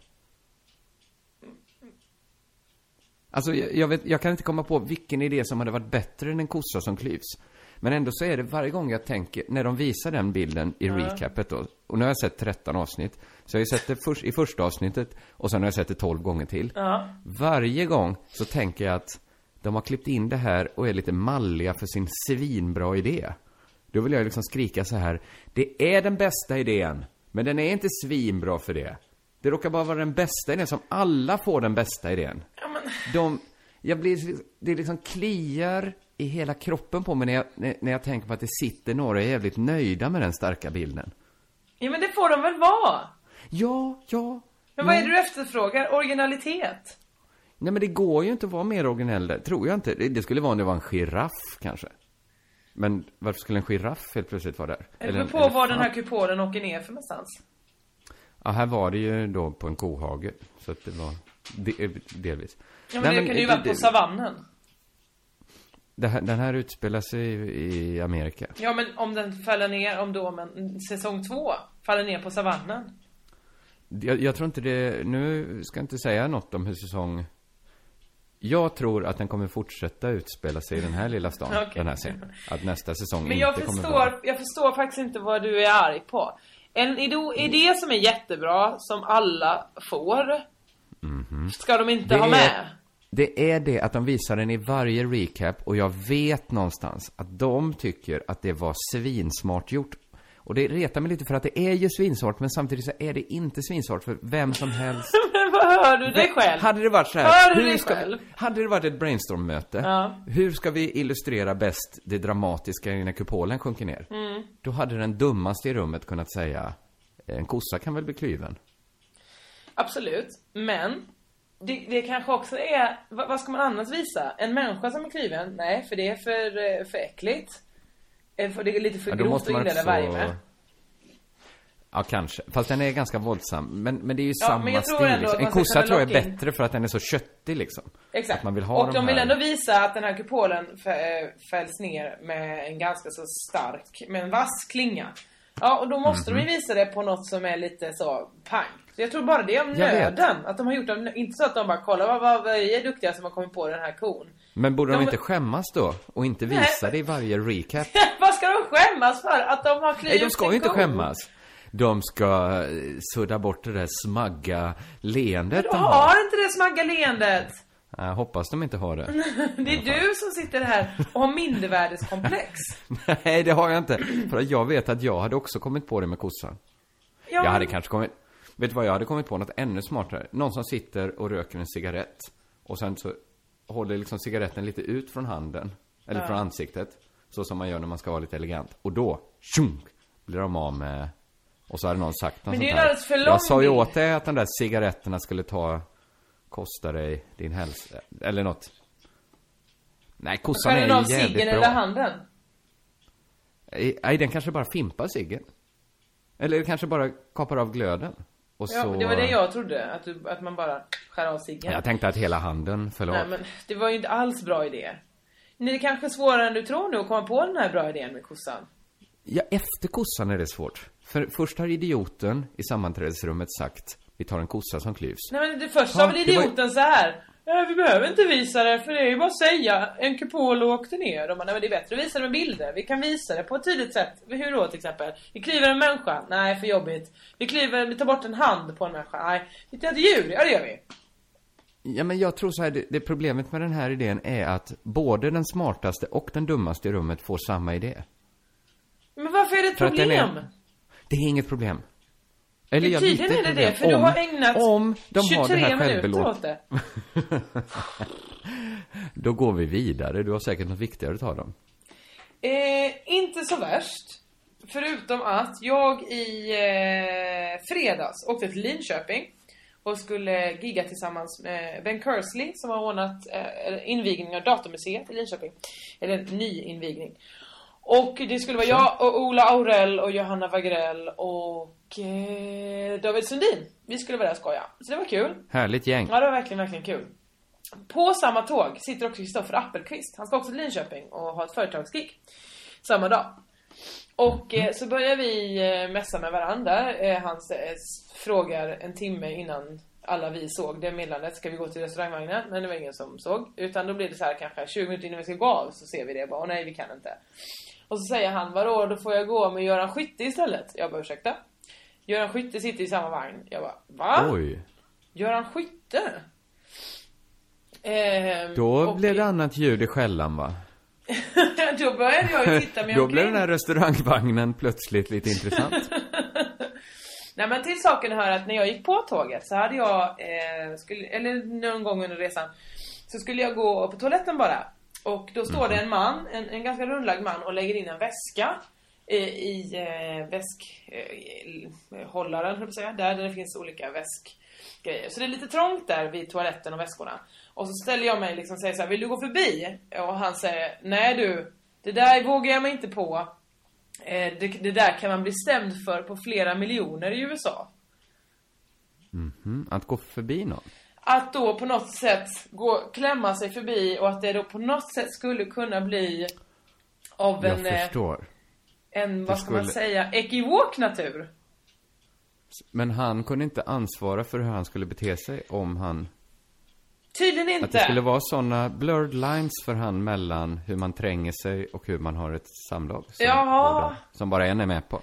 Speaker 2: Alltså, jag, jag, vet, jag kan inte komma på vilken idé som hade varit bättre än en kossa som klyvs. Men ändå så är det varje gång jag tänker, när de visar den bilden i recapet då, och nu har jag sett 13 avsnitt, så jag har ju sett det först, i första avsnittet och sen har jag sett det 12 gånger till.
Speaker 3: Ja.
Speaker 2: Varje gång så tänker jag att de har klippt in det här och är lite malliga för sin svinbra idé. Då vill jag liksom skrika så här, det är den bästa idén, men den är inte svinbra för det. Det råkar bara vara den bästa idén som alla får den bästa idén.
Speaker 3: Ja, men...
Speaker 2: De, jag blir, det liksom kliar i hela kroppen på mig när jag, när när jag tänker på att det sitter några och är jävligt nöjda med den starka bilden.
Speaker 3: ja, men det får de väl vara?
Speaker 2: Ja, ja.
Speaker 3: Men vad är det du efterfrågar? Originalitet?
Speaker 2: Nej men det går ju inte att vara mer originell där, tror jag inte. Det, det skulle vara om det var en giraff kanske. Men varför skulle en giraff helt plötsligt vara där?
Speaker 3: Det beror
Speaker 2: en
Speaker 3: på var den
Speaker 2: elefant.
Speaker 3: här kupolen åker ner för någonstans.
Speaker 2: Ja, här var det ju då på en kohage. Så att det var de, eh, delvis.
Speaker 3: Ja, men
Speaker 2: Nej,
Speaker 3: det kan ju vara på
Speaker 2: det-
Speaker 3: savannen.
Speaker 2: det här, Den här utspelar sig i, i Amerika.
Speaker 3: Ja, men om den faller ner, om då men säsong två faller ner på savannen.
Speaker 2: Jag, jag tror inte det, nu ska jag inte säga något om hur säsong... Jag tror att den kommer fortsätta utspela sig i den här lilla stan,
Speaker 3: Okej.
Speaker 2: den här scenen. Att nästa säsong
Speaker 3: Men
Speaker 2: inte
Speaker 3: jag
Speaker 2: kommer vara...
Speaker 3: förstår, jag förstår faktiskt inte vad du är arg på. En ido- idé som är jättebra, som alla får, ska de inte
Speaker 2: Mhm. Det
Speaker 3: ha
Speaker 2: är-
Speaker 3: med.
Speaker 2: Det är det att de visar den i varje recap och jag vet någonstans att de tycker att det var svinsmart gjort. Och det retar mig lite för att det är ju svinsmart men samtidigt så är det inte svinsmart för vem som helst
Speaker 3: men vad hör du dig själv?
Speaker 2: Hade det varit så här,
Speaker 3: Hör du dig
Speaker 2: ska,
Speaker 3: själv?
Speaker 2: hade det varit ett brainstorm-möte,
Speaker 3: Ja.
Speaker 2: hur ska vi illustrera bäst det dramatiska när kupolen sjunker ner?
Speaker 3: Mm.
Speaker 2: Då hade den dummaste i rummet kunnat säga, en kossa kan väl bli klyven?
Speaker 3: Absolut, men det, det kanske också är, vad, vad ska man annars visa? En människa som är kliven? Nej, för det är för, eh, för äckligt. Eh, För det är lite för
Speaker 2: Ja,
Speaker 3: grovt att inleda varje med.
Speaker 2: Ja, kanske. Fast den är ganska våldsam. Men, men det är ju
Speaker 3: Ja,
Speaker 2: samma
Speaker 3: men jag tror
Speaker 2: stil.
Speaker 3: ändå
Speaker 2: Liksom.
Speaker 3: att
Speaker 2: En
Speaker 3: man ska
Speaker 2: kossa
Speaker 3: kunna
Speaker 2: tror jag är
Speaker 3: locka in-
Speaker 2: bättre för att den är så köttig liksom.
Speaker 3: Exakt.
Speaker 2: Att man vill ha
Speaker 3: och
Speaker 2: de,
Speaker 3: de, vill
Speaker 2: här...
Speaker 3: ändå visa att den här kupolen fä- eh, fälls ner med en ganska så stark, med en vass klinga. Ja, och då måste de
Speaker 2: Mhm.
Speaker 3: ju visa det på något som är lite så pang. Så jag tror bara det om
Speaker 2: Jag vet.
Speaker 3: nöden. Att de har gjort det, inte så att de bara kolla vad, vad, vad är duktiga som har kommit på den här kon.
Speaker 2: Men borde de,
Speaker 3: De-
Speaker 2: inte skämmas då? Och inte
Speaker 3: Nej.
Speaker 2: visa det i varje recap?
Speaker 3: vad ska de skämmas för? Att de har
Speaker 2: Nej,
Speaker 3: klivit
Speaker 2: de ska
Speaker 3: en
Speaker 2: ju inte
Speaker 3: ko?
Speaker 2: skämmas. De ska eh, sudda bort det där smagga leendet
Speaker 3: Du
Speaker 2: de har.
Speaker 3: har inte det smagga leendet!
Speaker 2: Jag hoppas de inte har det.
Speaker 3: Det är du som sitter här och har mindervärdeskomplex.
Speaker 2: Nej, det har jag inte. För att jag vet att jag hade också kommit på det med kossan. Jag
Speaker 3: Ja,
Speaker 2: hade
Speaker 3: men-
Speaker 2: kanske kommit... Vet du vad, jag hade kommit på något ännu smartare. Någon som sitter och röker en cigarett. Och sen så håller liksom cigaretten lite ut från handen. Eller från ansiktet. Så som man gör när man ska vara lite elegant. Och då, tjunk, blir de av med... Och så hade någon sagt något
Speaker 3: Men det är
Speaker 2: sånt
Speaker 3: ju en
Speaker 2: här.
Speaker 3: alldeles för lång
Speaker 2: Jag sa ju
Speaker 3: bild.
Speaker 2: åt dig att de där cigaretterna skulle ta... Kosta dig din hälsa. Eller något. Nej, kossan
Speaker 3: Skär
Speaker 2: är
Speaker 3: den av
Speaker 2: ju jävligt
Speaker 3: ciggen
Speaker 2: bra.
Speaker 3: eller handen?
Speaker 2: I- Eh, Nej, den kanske bara fimpar ciggen. Eller kanske bara kapar av glöden. Och
Speaker 3: Ja,
Speaker 2: så...
Speaker 3: det var det jag trodde. Att, du, att man bara skär av ciggen.
Speaker 2: Jag tänkte att hela handen föll av.
Speaker 3: Nej men det var ju inte alls bra idé. Nej, Det är kanske är svårare än du tror nu att komma på den här bra idén med kossan.
Speaker 2: Ja, efter kossan är det svårt. För först har idioten i sammanträdesrummet sagt vi tar en kossa som klyvs.
Speaker 3: Nej men det första
Speaker 2: Ja,
Speaker 3: var väl
Speaker 2: det var ju-
Speaker 3: idioten så här. Nej, vi behöver inte visa det för det är ju bara att säga en kupol och åkte ner. Och man, nej, men det är bättre att visa det med bilder. Vi kan visa det på ett tydligt sätt. Hur då till exempel? Vi kliver en människa? Nej för jobbigt. Vi kliver, vi tar bort en hand på en människa? Nej. Vi tar ett djur? Ja det gör vi.
Speaker 2: Ja, men jag tror så här, det, det problemet med den här idén är att både den smartaste och den dummaste i rummet får samma idé.
Speaker 3: Men varför är det ett
Speaker 2: För att den
Speaker 3: problem?
Speaker 2: är- Det är inget problem. Eller jag
Speaker 3: Tydligen
Speaker 2: vet
Speaker 3: är det
Speaker 2: inte
Speaker 3: det, för du
Speaker 2: Om-
Speaker 3: har ägnat
Speaker 2: om de har det
Speaker 3: 23
Speaker 2: här
Speaker 3: minuter
Speaker 2: självbelåt...
Speaker 3: åt det.
Speaker 2: Då går vi vidare. Du har säkert något viktigare att ta dem.
Speaker 3: Eh, inte så värst. Förutom att jag i eh, fredags åkte till Linköping och skulle gigga tillsammans med Ben Kersley som har ordnat eh, invigning av Datormuseet i Linköping. Eller en ny invigning. Och det skulle vara jag och Ola Aurell och Johanna Wagrell och eh, David Sundin. Vi skulle vara där och skoja. Så det var kul.
Speaker 2: Härligt gäng.
Speaker 3: Ja, det var verkligen, verkligen kul. På samma tåg sitter också Kristoffer Appelqvist. Han ska också till Linköping och ha ett företagsgig. Samma dag. Och eh, så börjar vi eh, messa med varandra. Eh, han s- eh, s- frågar en timme innan alla vi såg det meddelandet. Ska vi gå till restaurangvagnen? Men det var ingen som såg. Utan då blir det så här kanske 20 minuter innan vi ska gå av så ser vi det. Bara, Åh nej, vi kan inte. Och så säger han, vadå, då får jag gå med Göran Skytte istället. Jag bara, ursäkta? Göran Skytte sitter i samma vagn. Jag bara, va?
Speaker 2: Oj.
Speaker 3: Göran Skytte? Ehm,
Speaker 2: Då
Speaker 3: och-
Speaker 2: blev det annat ljud i skällan va?
Speaker 3: då började jag ju titta mig
Speaker 2: Då blev
Speaker 3: omkring.
Speaker 2: den här restaurangvagnen plötsligt lite intressant.
Speaker 3: Nej men till saken hör att när jag gick på tåget så hade jag, eh, skulle, eller någon gång under resan, så skulle jag gå på toaletten bara. Och då står det en man, en, en ganska rundlagd man och lägger in en väska i, i eh, väskhållaren, höll jag på att säga, där det finns olika väskgrejer. Så det är lite trångt där vid toaletten och väskorna. Och så ställer jag mig liksom och säger så här, vill du gå förbi? Och han säger, nej du, det där vågar jag mig inte på. Eh, det, det där kan man bli stämd för på flera miljoner i USA.
Speaker 2: Mm, att gå förbi någon.
Speaker 3: Att då på något sätt gå, klämma sig förbi och att det då på något sätt skulle kunna bli av
Speaker 2: Jag
Speaker 3: en, eh,
Speaker 2: förstår.
Speaker 3: en vad ska man
Speaker 2: skulle-
Speaker 3: säga, ekivok natur.
Speaker 2: Men han kunde inte ansvara för hur han skulle bete sig om han...
Speaker 3: Tydligen
Speaker 2: Att det skulle
Speaker 3: inte.
Speaker 2: vara såna blurred lines för han mellan hur man tränger sig och hur man har ett samlag. Som,
Speaker 3: Jaha.
Speaker 2: båda- som bara en är med på.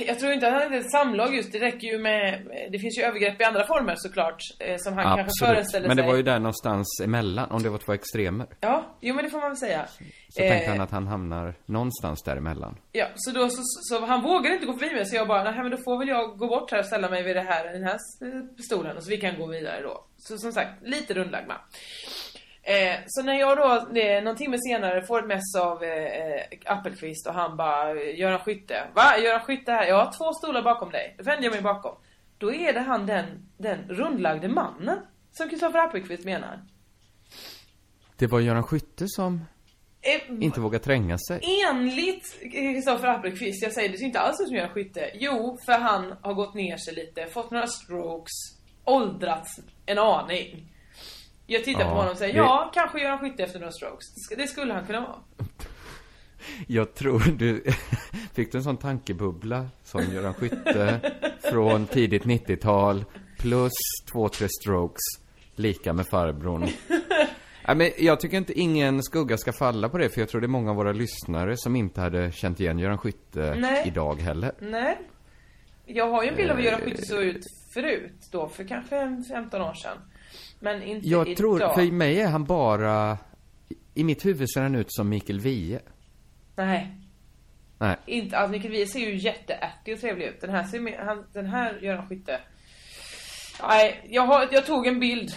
Speaker 3: Jag tror inte att han hade ett samlag just, det räcker ju med, det finns ju övergrepp i andra former såklart. eh, Som han kanske föreställde
Speaker 2: Men det
Speaker 3: sig.
Speaker 2: var ju där någonstans emellan, om det var två extremer.
Speaker 3: Ja, jo men det får man väl säga.
Speaker 2: Så
Speaker 3: Eh.
Speaker 2: tänkte han att han hamnar någonstans däremellan.
Speaker 3: Ja, så då så, så, så han vågade inte gå förbi mig så jag bara, nej men då får väl jag gå bort här och ställa mig vid det här, den här eh, stolen och så vi kan gå vidare då. Så som sagt, lite rundlagd man. Eh, så när jag då eh, någon timme senare får ett mess av eh, eh, Appelqvist och han bara, Göran Skytte. Va? Göran Skytte här? Jag har två stolar bakom dig. Då vänder jag mig bakom. Då är det han den, den rundlagde mannen som Kristoffer Appelqvist menar.
Speaker 2: Det var Göran Skytte som
Speaker 3: Eh,
Speaker 2: inte vågade tränga sig.
Speaker 3: Enligt Kristoffer Appelqvist, jag säger det ser inte alls ut som Göran Skytte. Jo, för han har gått ner sig lite, fått några strokes, åldrats en aning. Jag tittar
Speaker 2: Ja,
Speaker 3: på honom och säger
Speaker 2: det-
Speaker 3: ja, kanske Göran Skytte efter några strokes. Det sk- Det skulle han kunna vara.
Speaker 2: Jag tror du... Fick du en sån tankebubbla som Göran Skytte från tidigt 90-tal plus två, tre strokes lika med farbrorn? Nej, men jag tycker inte ingen skugga ska falla på det, för jag tror det är många av våra lyssnare som inte hade känt igen Göran Skytte
Speaker 3: Nej.
Speaker 2: idag heller.
Speaker 3: Nej. Jag har ju en bild av hur Göran Skytte såg ut förut då, för kanske en 15 år sedan. Men inte
Speaker 2: Jag
Speaker 3: idag.
Speaker 2: tror, för mig är han bara... I mitt huvud ser han ut som Mikael Wiehe.
Speaker 3: Nej.
Speaker 2: Nej.
Speaker 3: Inte alls. Mikael Wiehe ser ju jätteärtig och trevlig ut. Den här, ser, mer- han, den här gör han skytte. Nej, jag, har, jag tog en bild.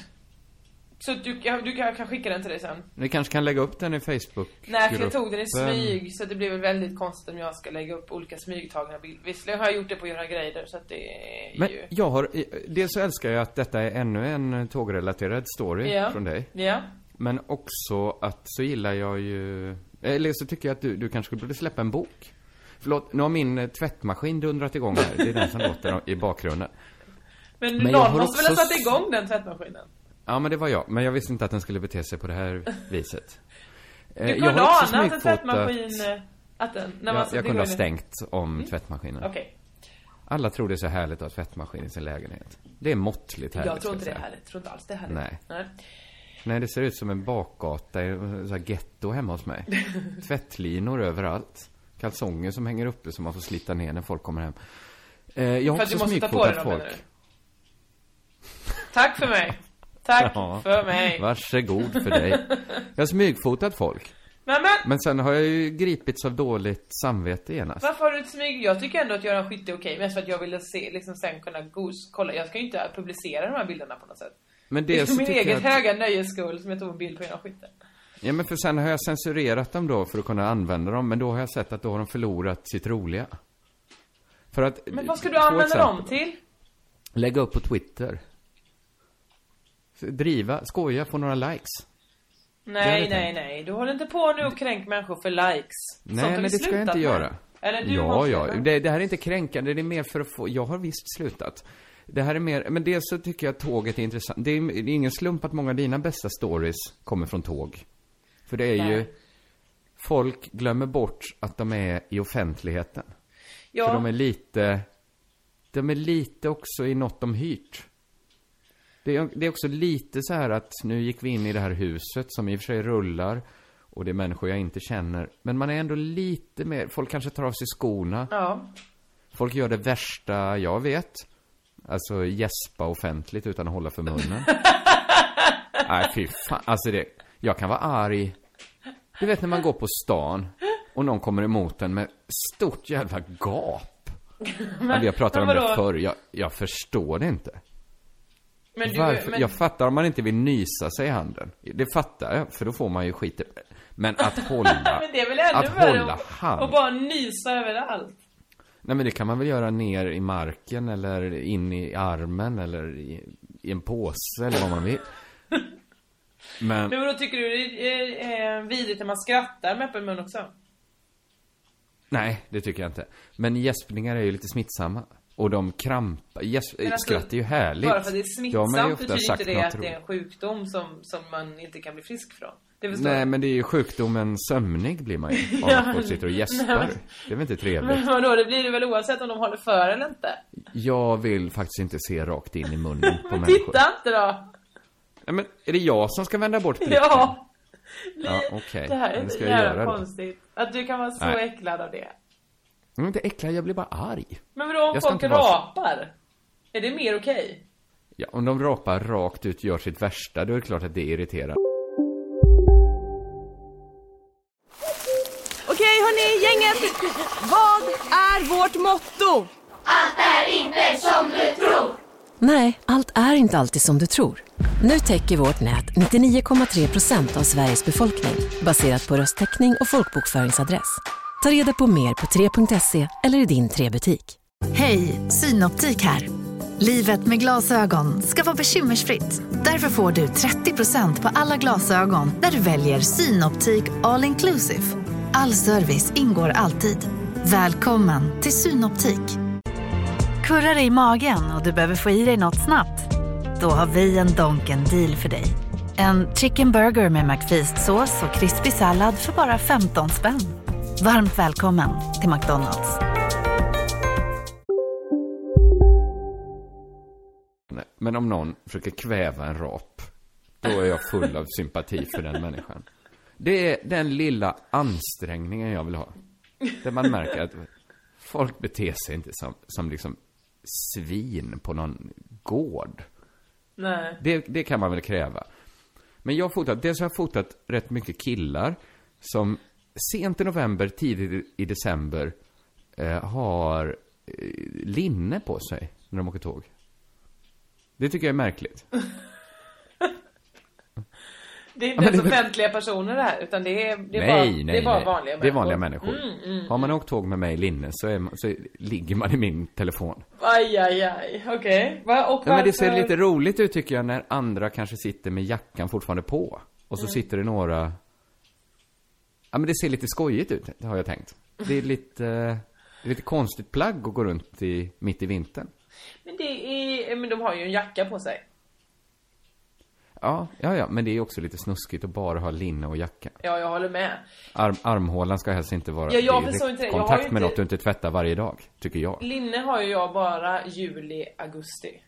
Speaker 3: Så att du, kan- du kan, jag kan skicka den till dig sen.
Speaker 2: Ni kanske kan lägga upp den i facebook
Speaker 3: Nej, för jag tog den i smyg så det blir väl väldigt konstigt om jag ska lägga upp olika smygtagna bilder. Visserligen har jag gjort det på Göran Greider så att det är
Speaker 2: Men
Speaker 3: ju...
Speaker 2: jag har, dels så älskar jag att detta är ännu en tågrelaterad story
Speaker 3: Ja.
Speaker 2: från dig.
Speaker 3: Ja.
Speaker 2: Men också att så gillar jag ju, eller så tycker jag att du, du kanske borde släppa en bok. Förlåt, nu har min eh, tvättmaskin dundrat igång här. Det är den som låter i bakgrunden.
Speaker 3: Men,
Speaker 2: Men jag
Speaker 3: någon
Speaker 2: har
Speaker 3: måste väl ha
Speaker 2: också Eh,
Speaker 3: satt igång den tvättmaskinen?
Speaker 2: Ja, men det var jag. Men jag visste inte att den skulle bete sig på det här viset. Eh,
Speaker 3: Du
Speaker 2: jag
Speaker 3: kunde
Speaker 2: har också
Speaker 3: ana att en
Speaker 2: smygfotat-
Speaker 3: tvättmaskin... eh, Att den, när man
Speaker 2: Jag,
Speaker 3: satte
Speaker 2: jag kunde ha
Speaker 3: igång den-
Speaker 2: stängt om tvättmaskinen.
Speaker 3: Okej.
Speaker 2: Alla tror det är så härligt att ha tvättmaskin i sin lägenhet. Det är måttligt härligt.
Speaker 3: Jag tror inte
Speaker 2: ska
Speaker 3: det är
Speaker 2: säga.
Speaker 3: härligt. Jag tror inte alls det är härligt.
Speaker 2: Nej.
Speaker 3: Nej.
Speaker 2: Nej, det ser ut som en bakgata, i- så här getto hemma hos mig. Tvättlinor överallt. Kalsonger som hänger uppe som man får slita ner när folk kommer hem. Eh, jag har
Speaker 3: För att du
Speaker 2: också
Speaker 3: måste ta på dig
Speaker 2: smygfotat
Speaker 3: dem menar du?
Speaker 2: folk.
Speaker 3: Tack för mig. Tack
Speaker 2: Ja.
Speaker 3: för mig.
Speaker 2: Varsågod för dig. Jag har smygfotat folk.
Speaker 3: Men, men
Speaker 2: Men sen har jag ju gripits av dåligt samvete genast.
Speaker 3: varför har du ett smyg? Jag tycker ändå att Göran Skytte är okej, mest för att jag ville se, liksom sen kunna gos, kolla. Jag ska ju inte publicera de här bilderna på något sätt.
Speaker 2: Men
Speaker 3: Det är
Speaker 2: dels
Speaker 3: för
Speaker 2: så
Speaker 3: min
Speaker 2: tycker
Speaker 3: egen
Speaker 2: jag att,
Speaker 3: höga nöjes skull som jag tog en bild på Göran Skytte.
Speaker 2: Ja men för sen har jag censurerat dem då för att kunna använda dem, men då har jag sett att då har de förlorat sitt roliga. För att...
Speaker 3: Men vad ska du
Speaker 2: två
Speaker 3: använda
Speaker 2: exempel.
Speaker 3: dem till?
Speaker 2: Lägga upp på Twitter. Driva, skoja, få några likes. Det hade
Speaker 3: Nej,
Speaker 2: jag
Speaker 3: nej, nej. Du håller inte på nu och kränk människor för likes.
Speaker 2: Nej,
Speaker 3: Sånt har
Speaker 2: men
Speaker 3: vi
Speaker 2: det ska jag
Speaker 3: slutat
Speaker 2: inte
Speaker 3: med.
Speaker 2: göra.
Speaker 3: Eller du
Speaker 2: ja,
Speaker 3: måste,
Speaker 2: ja.
Speaker 3: va?
Speaker 2: Det, det här är inte kränkande, det är mer för att få, jag har visst slutat. Det här är mer, men dels så tycker jag att tåget är intressant. Det är, det är ingen slump att många av dina bästa stories kommer från tåg. För det är ju,
Speaker 3: Nej.
Speaker 2: folk glömmer bort att de är i offentligheten.
Speaker 3: ja.
Speaker 2: För de är lite, de är lite också i något de hyrt. Det är, det är också lite så här att nu gick vi in i det här huset som i och för sig rullar och det är människor jag inte känner. Men man är ändå lite mer, folk kanske tar av sig skorna.
Speaker 3: ja.
Speaker 2: Folk gör det värsta jag vet. Alltså gäspa offentligt utan att hålla för munnen. Nej, fy fan. Alltså det, jag kan vara arg. Du vet när man går på stan och någon kommer emot en med stort jävla gap. Men, vi har pratat
Speaker 3: men
Speaker 2: om det
Speaker 3: vadå?
Speaker 2: förr. Jag, jag förstår det inte.
Speaker 3: Men du,
Speaker 2: Varför?
Speaker 3: men,
Speaker 2: Jag fattar om man inte vill nysa sig i handen. Det fattar jag, för då får man ju skit. Men att hålla,
Speaker 3: men det är väl ännu
Speaker 2: att
Speaker 3: värre
Speaker 2: hålla hand.
Speaker 3: att- att bara nysa överallt.
Speaker 2: Nej men det kan man väl göra ner i marken eller in i armen eller i, i en påse eller vad man vill. Men,
Speaker 3: Men då tycker du det är eh, vidrigt när man skrattar med öppen mun också?
Speaker 2: nej det tycker jag inte. Men gäspningar är ju lite smittsamma. Och de krampar, gäsp,
Speaker 3: Men alltså,
Speaker 2: skratt är ju härligt.
Speaker 3: Bara för att det är
Speaker 2: Då har man ju
Speaker 3: smittsamt
Speaker 2: ofta
Speaker 3: betyder inte
Speaker 2: sagt
Speaker 3: det
Speaker 2: något
Speaker 3: att det är en
Speaker 2: roligt.
Speaker 3: sjukdom som, som man inte kan bli frisk från. Det förstår
Speaker 2: Nej
Speaker 3: jag.
Speaker 2: men det är ju sjukdomen sömnig blir man ju. Av
Speaker 3: Ja,
Speaker 2: att folk sitter och gäspar. Det är väl inte trevligt.
Speaker 3: Men vadå, det blir det väl oavsett om de håller för eller inte?
Speaker 2: Jag vill faktiskt inte se rakt in i munnen på
Speaker 3: Men
Speaker 2: människor.
Speaker 3: titta inte då!
Speaker 2: Nej men är det jag som ska vända bort blicken?
Speaker 3: Ja!
Speaker 2: Ja, okej.
Speaker 3: Det här
Speaker 2: Men
Speaker 3: är
Speaker 2: det
Speaker 3: så
Speaker 2: ska jag
Speaker 3: jävla
Speaker 2: göra då.
Speaker 3: konstigt. Att du kan vara så
Speaker 2: Nej.
Speaker 3: äcklad av det.
Speaker 2: Jag är inte äcklad, jag blir bara arg.
Speaker 3: Men vadå om
Speaker 2: Jag ska
Speaker 3: folk
Speaker 2: inte vara så-
Speaker 3: rapar? Är det mer okej?
Speaker 2: Ja, om de rapar rakt ut, gör sitt värsta, då är det klart att det irriterar.
Speaker 4: Okej hörni, gänget! Vad är vårt motto?
Speaker 5: Allt är inte som du tror.
Speaker 6: Nej, allt är inte alltid som du tror. Nu täcker vårt nät 99,3 procent av Sveriges befolkning baserat på röstteckning och folkbokföringsadress. Ta reda på mer på 3.se eller i din 3-butik.
Speaker 7: Hej, Synoptik här. Livet med glasögon ska vara bekymmersfritt. Därför får du 30% på alla glasögon när du väljer Synoptik All Inclusive. All service ingår alltid. Välkommen till Synoptik. Kurrar i magen och du behöver få i dig något snabbt? Då har vi en Donken deal för dig. En chicken burger med McFeast-sås och krispig sallad för bara 15 spänn. Varmt välkommen till McDonalds.
Speaker 2: Nej, Men om någon försöker kväva en rap, då är jag full av sympati för den människan. Det är den lilla ansträngningen jag vill ha. Där man märker att folk beter sig inte som, som liksom svin på någon gård.
Speaker 3: Nej.
Speaker 2: Det, det kan man väl kräva. Men jag har fotat, dels har jag fotat rätt mycket killar som sent i november, tidigt i december eh, har eh, linne på sig när de åker tåg. Det tycker jag är märkligt.
Speaker 3: Det är inte
Speaker 2: men
Speaker 3: ens
Speaker 2: det-
Speaker 3: offentliga personer det här, utan det är, det är bara,
Speaker 2: nej, nej,
Speaker 3: det är bara
Speaker 2: nej.
Speaker 3: vanliga Mm.
Speaker 2: Det är vanliga människor. Har man åkt tåg med mig i linne så, är man, så ligger man i min telefon.
Speaker 3: Aj, aj, aj. Okej. Va- och
Speaker 2: Ja, men det ser
Speaker 3: varför-
Speaker 2: lite roligt ut tycker jag när andra kanske sitter med jackan fortfarande på. Och så
Speaker 3: Mm.
Speaker 2: sitter det några... Ja men det ser lite skojigt ut, det har jag tänkt. Det är lite, det är lite konstigt plagg att gå runt i, mitt i vintern.
Speaker 3: Men det är, men de har ju en jacka på sig.
Speaker 2: Ja, ja, ja, men det är också lite snuskigt att bara ha linne och jacka.
Speaker 3: Ja, jag håller med.
Speaker 2: Arm, armhålan ska helst inte vara
Speaker 3: Ja, jag
Speaker 2: i
Speaker 3: förstår inte det. Jag har
Speaker 2: kontakt
Speaker 3: ju
Speaker 2: med
Speaker 3: inte- Mm.
Speaker 2: något du inte tvättar varje dag, tycker jag.
Speaker 3: Linne har ju jag bara juli, augusti.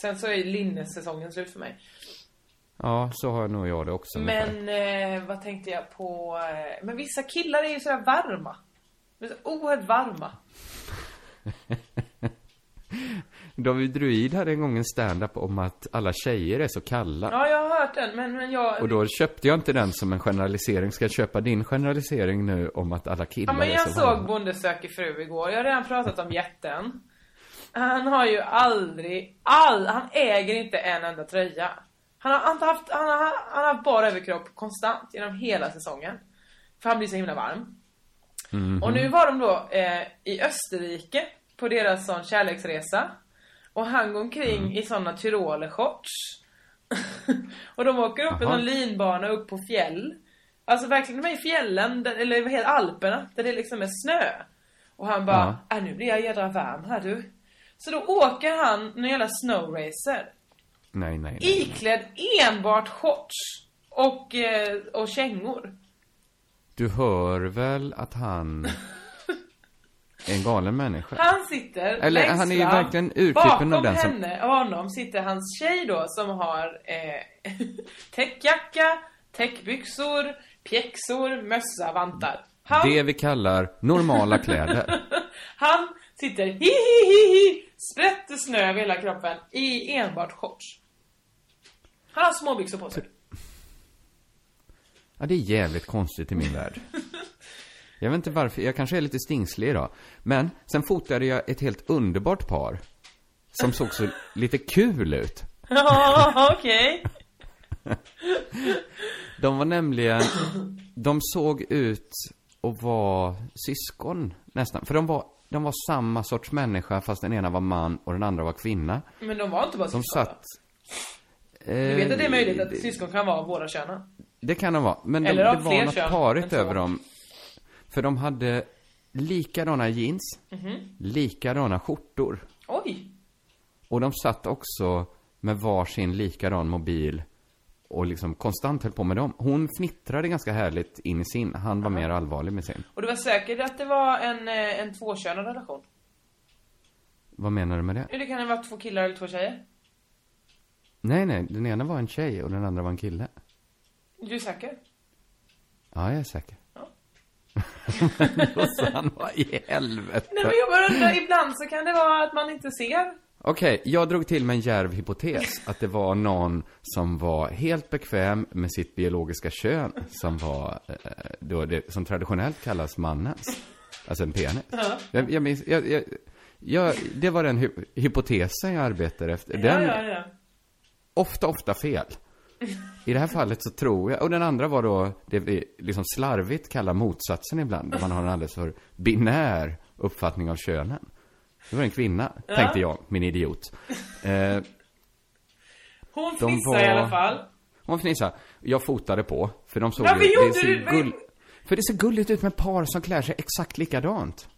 Speaker 3: Sen så är linnesäsongen slut för mig.
Speaker 2: Ja, så har nog jag det också. ungefär.
Speaker 3: Men eh, vad tänkte jag på? eh, Men vissa killar är ju sådär varma. De är så oerhört varma.
Speaker 2: David Druid hade en gång en stand-up om att alla tjejer är så kalla.
Speaker 3: Ja, jag har hört den, men, men jag...
Speaker 2: Och då köpte jag inte den som en generalisering. Ska jag köpa din generalisering nu om att alla killar
Speaker 3: Ja, men
Speaker 2: är
Speaker 3: jag
Speaker 2: så
Speaker 3: såg
Speaker 2: varma?
Speaker 3: Bonde söker fru igår. Jag har redan pratat om jätten. Han har ju aldrig, all, han äger inte en enda tröja. Han har inte haft, han har, han har haft bara överkropp konstant genom hela säsongen. För han blir så himla varm.
Speaker 2: Mhm.
Speaker 3: Och nu var de då eh, i Österrike på deras sån kärleksresa. Och han går omkring
Speaker 2: Mm.
Speaker 3: i såna tyroler-shorts. och de åker upp en
Speaker 2: Jaha.
Speaker 3: sån linbana upp på fjäll. Alltså verkligen de är i fjällen, där, eller vad heter Alperna, där det liksom är snö. Och han bara, äh, nu blir jag jädra varm här du. Så då åker han någon jävla snowracer.
Speaker 2: Nej, nej, nej.
Speaker 3: Iklädd enbart shorts och, eh, och kängor.
Speaker 2: Du hör väl att han är en galen människa?
Speaker 3: Han sitter
Speaker 2: Eller,
Speaker 3: längst
Speaker 2: han är ju
Speaker 3: fram.
Speaker 2: verkligen urtypen
Speaker 3: Bakom
Speaker 2: av den som-
Speaker 3: henne, honom, sitter hans tjej då som har eh, täckjacka, täckbyxor, pjäxor, mössa, vantar. Han,
Speaker 2: Det vi kallar normala kläder.
Speaker 3: han sitter hi hi hi hi, sprätter snö över hela kroppen i enbart shorts. Han har småbyxor på sig.
Speaker 2: Ja, det är jävligt konstigt i min värld. Jag vet inte varför, jag kanske är lite stingslig idag. Men sen fotade jag ett helt underbart par. Som såg så lite kul ut.
Speaker 3: Ja, okej.
Speaker 2: De var nämligen, de såg ut att vara syskon nästan. För de var, de var samma sorts människa fast den ena var man och den andra var kvinna.
Speaker 3: Men de var inte bara
Speaker 2: De
Speaker 3: syskon.
Speaker 2: satt...
Speaker 3: Du vet att det är möjligt att
Speaker 2: det,
Speaker 3: syskon kan vara av båda könen.
Speaker 2: det kan de vara. Men de,
Speaker 3: Eller
Speaker 2: det
Speaker 3: av fler
Speaker 2: var något
Speaker 3: kön än
Speaker 2: parigt
Speaker 3: två.
Speaker 2: över dem. För de hade likadana jeans,
Speaker 3: Mhm.
Speaker 2: likadana skjortor.
Speaker 3: Oj!
Speaker 2: Och de satt också med varsin likadan mobil och liksom konstant höll på med dem. Hon fnittrade ganska härligt in i sin, han var mer allvarlig med sin.
Speaker 3: Och du var säker att det var en, eh, en tvåkönad relation?
Speaker 2: Vad menar du med det?
Speaker 3: Jo, det kan ha varit två killar eller två tjejer.
Speaker 2: Nej, nej, den ena var en tjej och den andra var en kille.
Speaker 3: Du är säker?
Speaker 2: Ja, jag är säker. Men då sa han, vad i helvete?
Speaker 3: Nej men jag bara undrar, ibland så kan det vara att man inte ser.
Speaker 2: Okej, jag drog till med en djärv hypotes. Att det var någon som var helt bekväm med sitt biologiska kön. Som var, eh, då det som traditionellt kallas mannens. Alltså en penis. Jag, jag minns, jag, jag, jag, det var den hy- hypotesen jag arbetade efter. Den,
Speaker 3: Ja, ja, ja.
Speaker 2: ofta, ofta fel. I det här fallet så tror jag, och den andra var då det vi liksom slarvigt kallar motsatsen ibland, där man har en alldeles för binär uppfattning av könen. Det var en kvinna, tänkte jag, min idiot. Eh,
Speaker 3: Hon
Speaker 2: De
Speaker 3: fnissar
Speaker 2: var-
Speaker 3: i alla fall. Eh,
Speaker 2: hon fnissade. Jag fotade på, för de såg
Speaker 3: Varför
Speaker 2: ju...
Speaker 3: gjorde
Speaker 2: det ser
Speaker 3: du det?
Speaker 2: gull... För det ser gulligt ut med par som klär sig exakt likadant.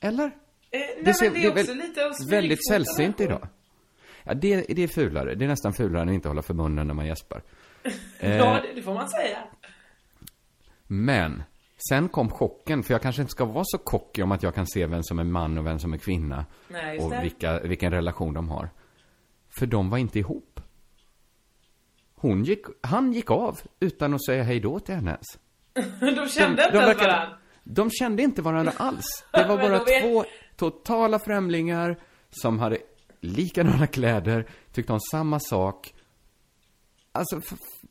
Speaker 2: Eller?
Speaker 3: Eh, nej det men det är också
Speaker 2: väl-
Speaker 3: lite att
Speaker 2: väldigt
Speaker 3: smygfota
Speaker 2: sällsynt
Speaker 3: människor.
Speaker 2: idag. Ja, det, det är fulare. Det är nästan fulare än att inte hålla för munnen när man gäspar. Eh.
Speaker 3: Ja, det, det får man säga.
Speaker 2: Men, sen kom chocken, för jag kanske inte ska vara så kockig om att jag kan se vem som är man och vem som är kvinna.
Speaker 3: Nej, just
Speaker 2: och
Speaker 3: det.
Speaker 2: vilka, vilken relation de har. För de var inte ihop. Hon gick, han gick av utan att säga hej då till henne ens.
Speaker 3: De kände inte ens
Speaker 2: verkade-
Speaker 3: varandra.
Speaker 2: de kände inte varandra alls. Det var
Speaker 3: Men
Speaker 2: bara
Speaker 3: då vet-
Speaker 2: två totala främlingar som hade likadana kläder, tyckte om samma sak. Alltså, f- f-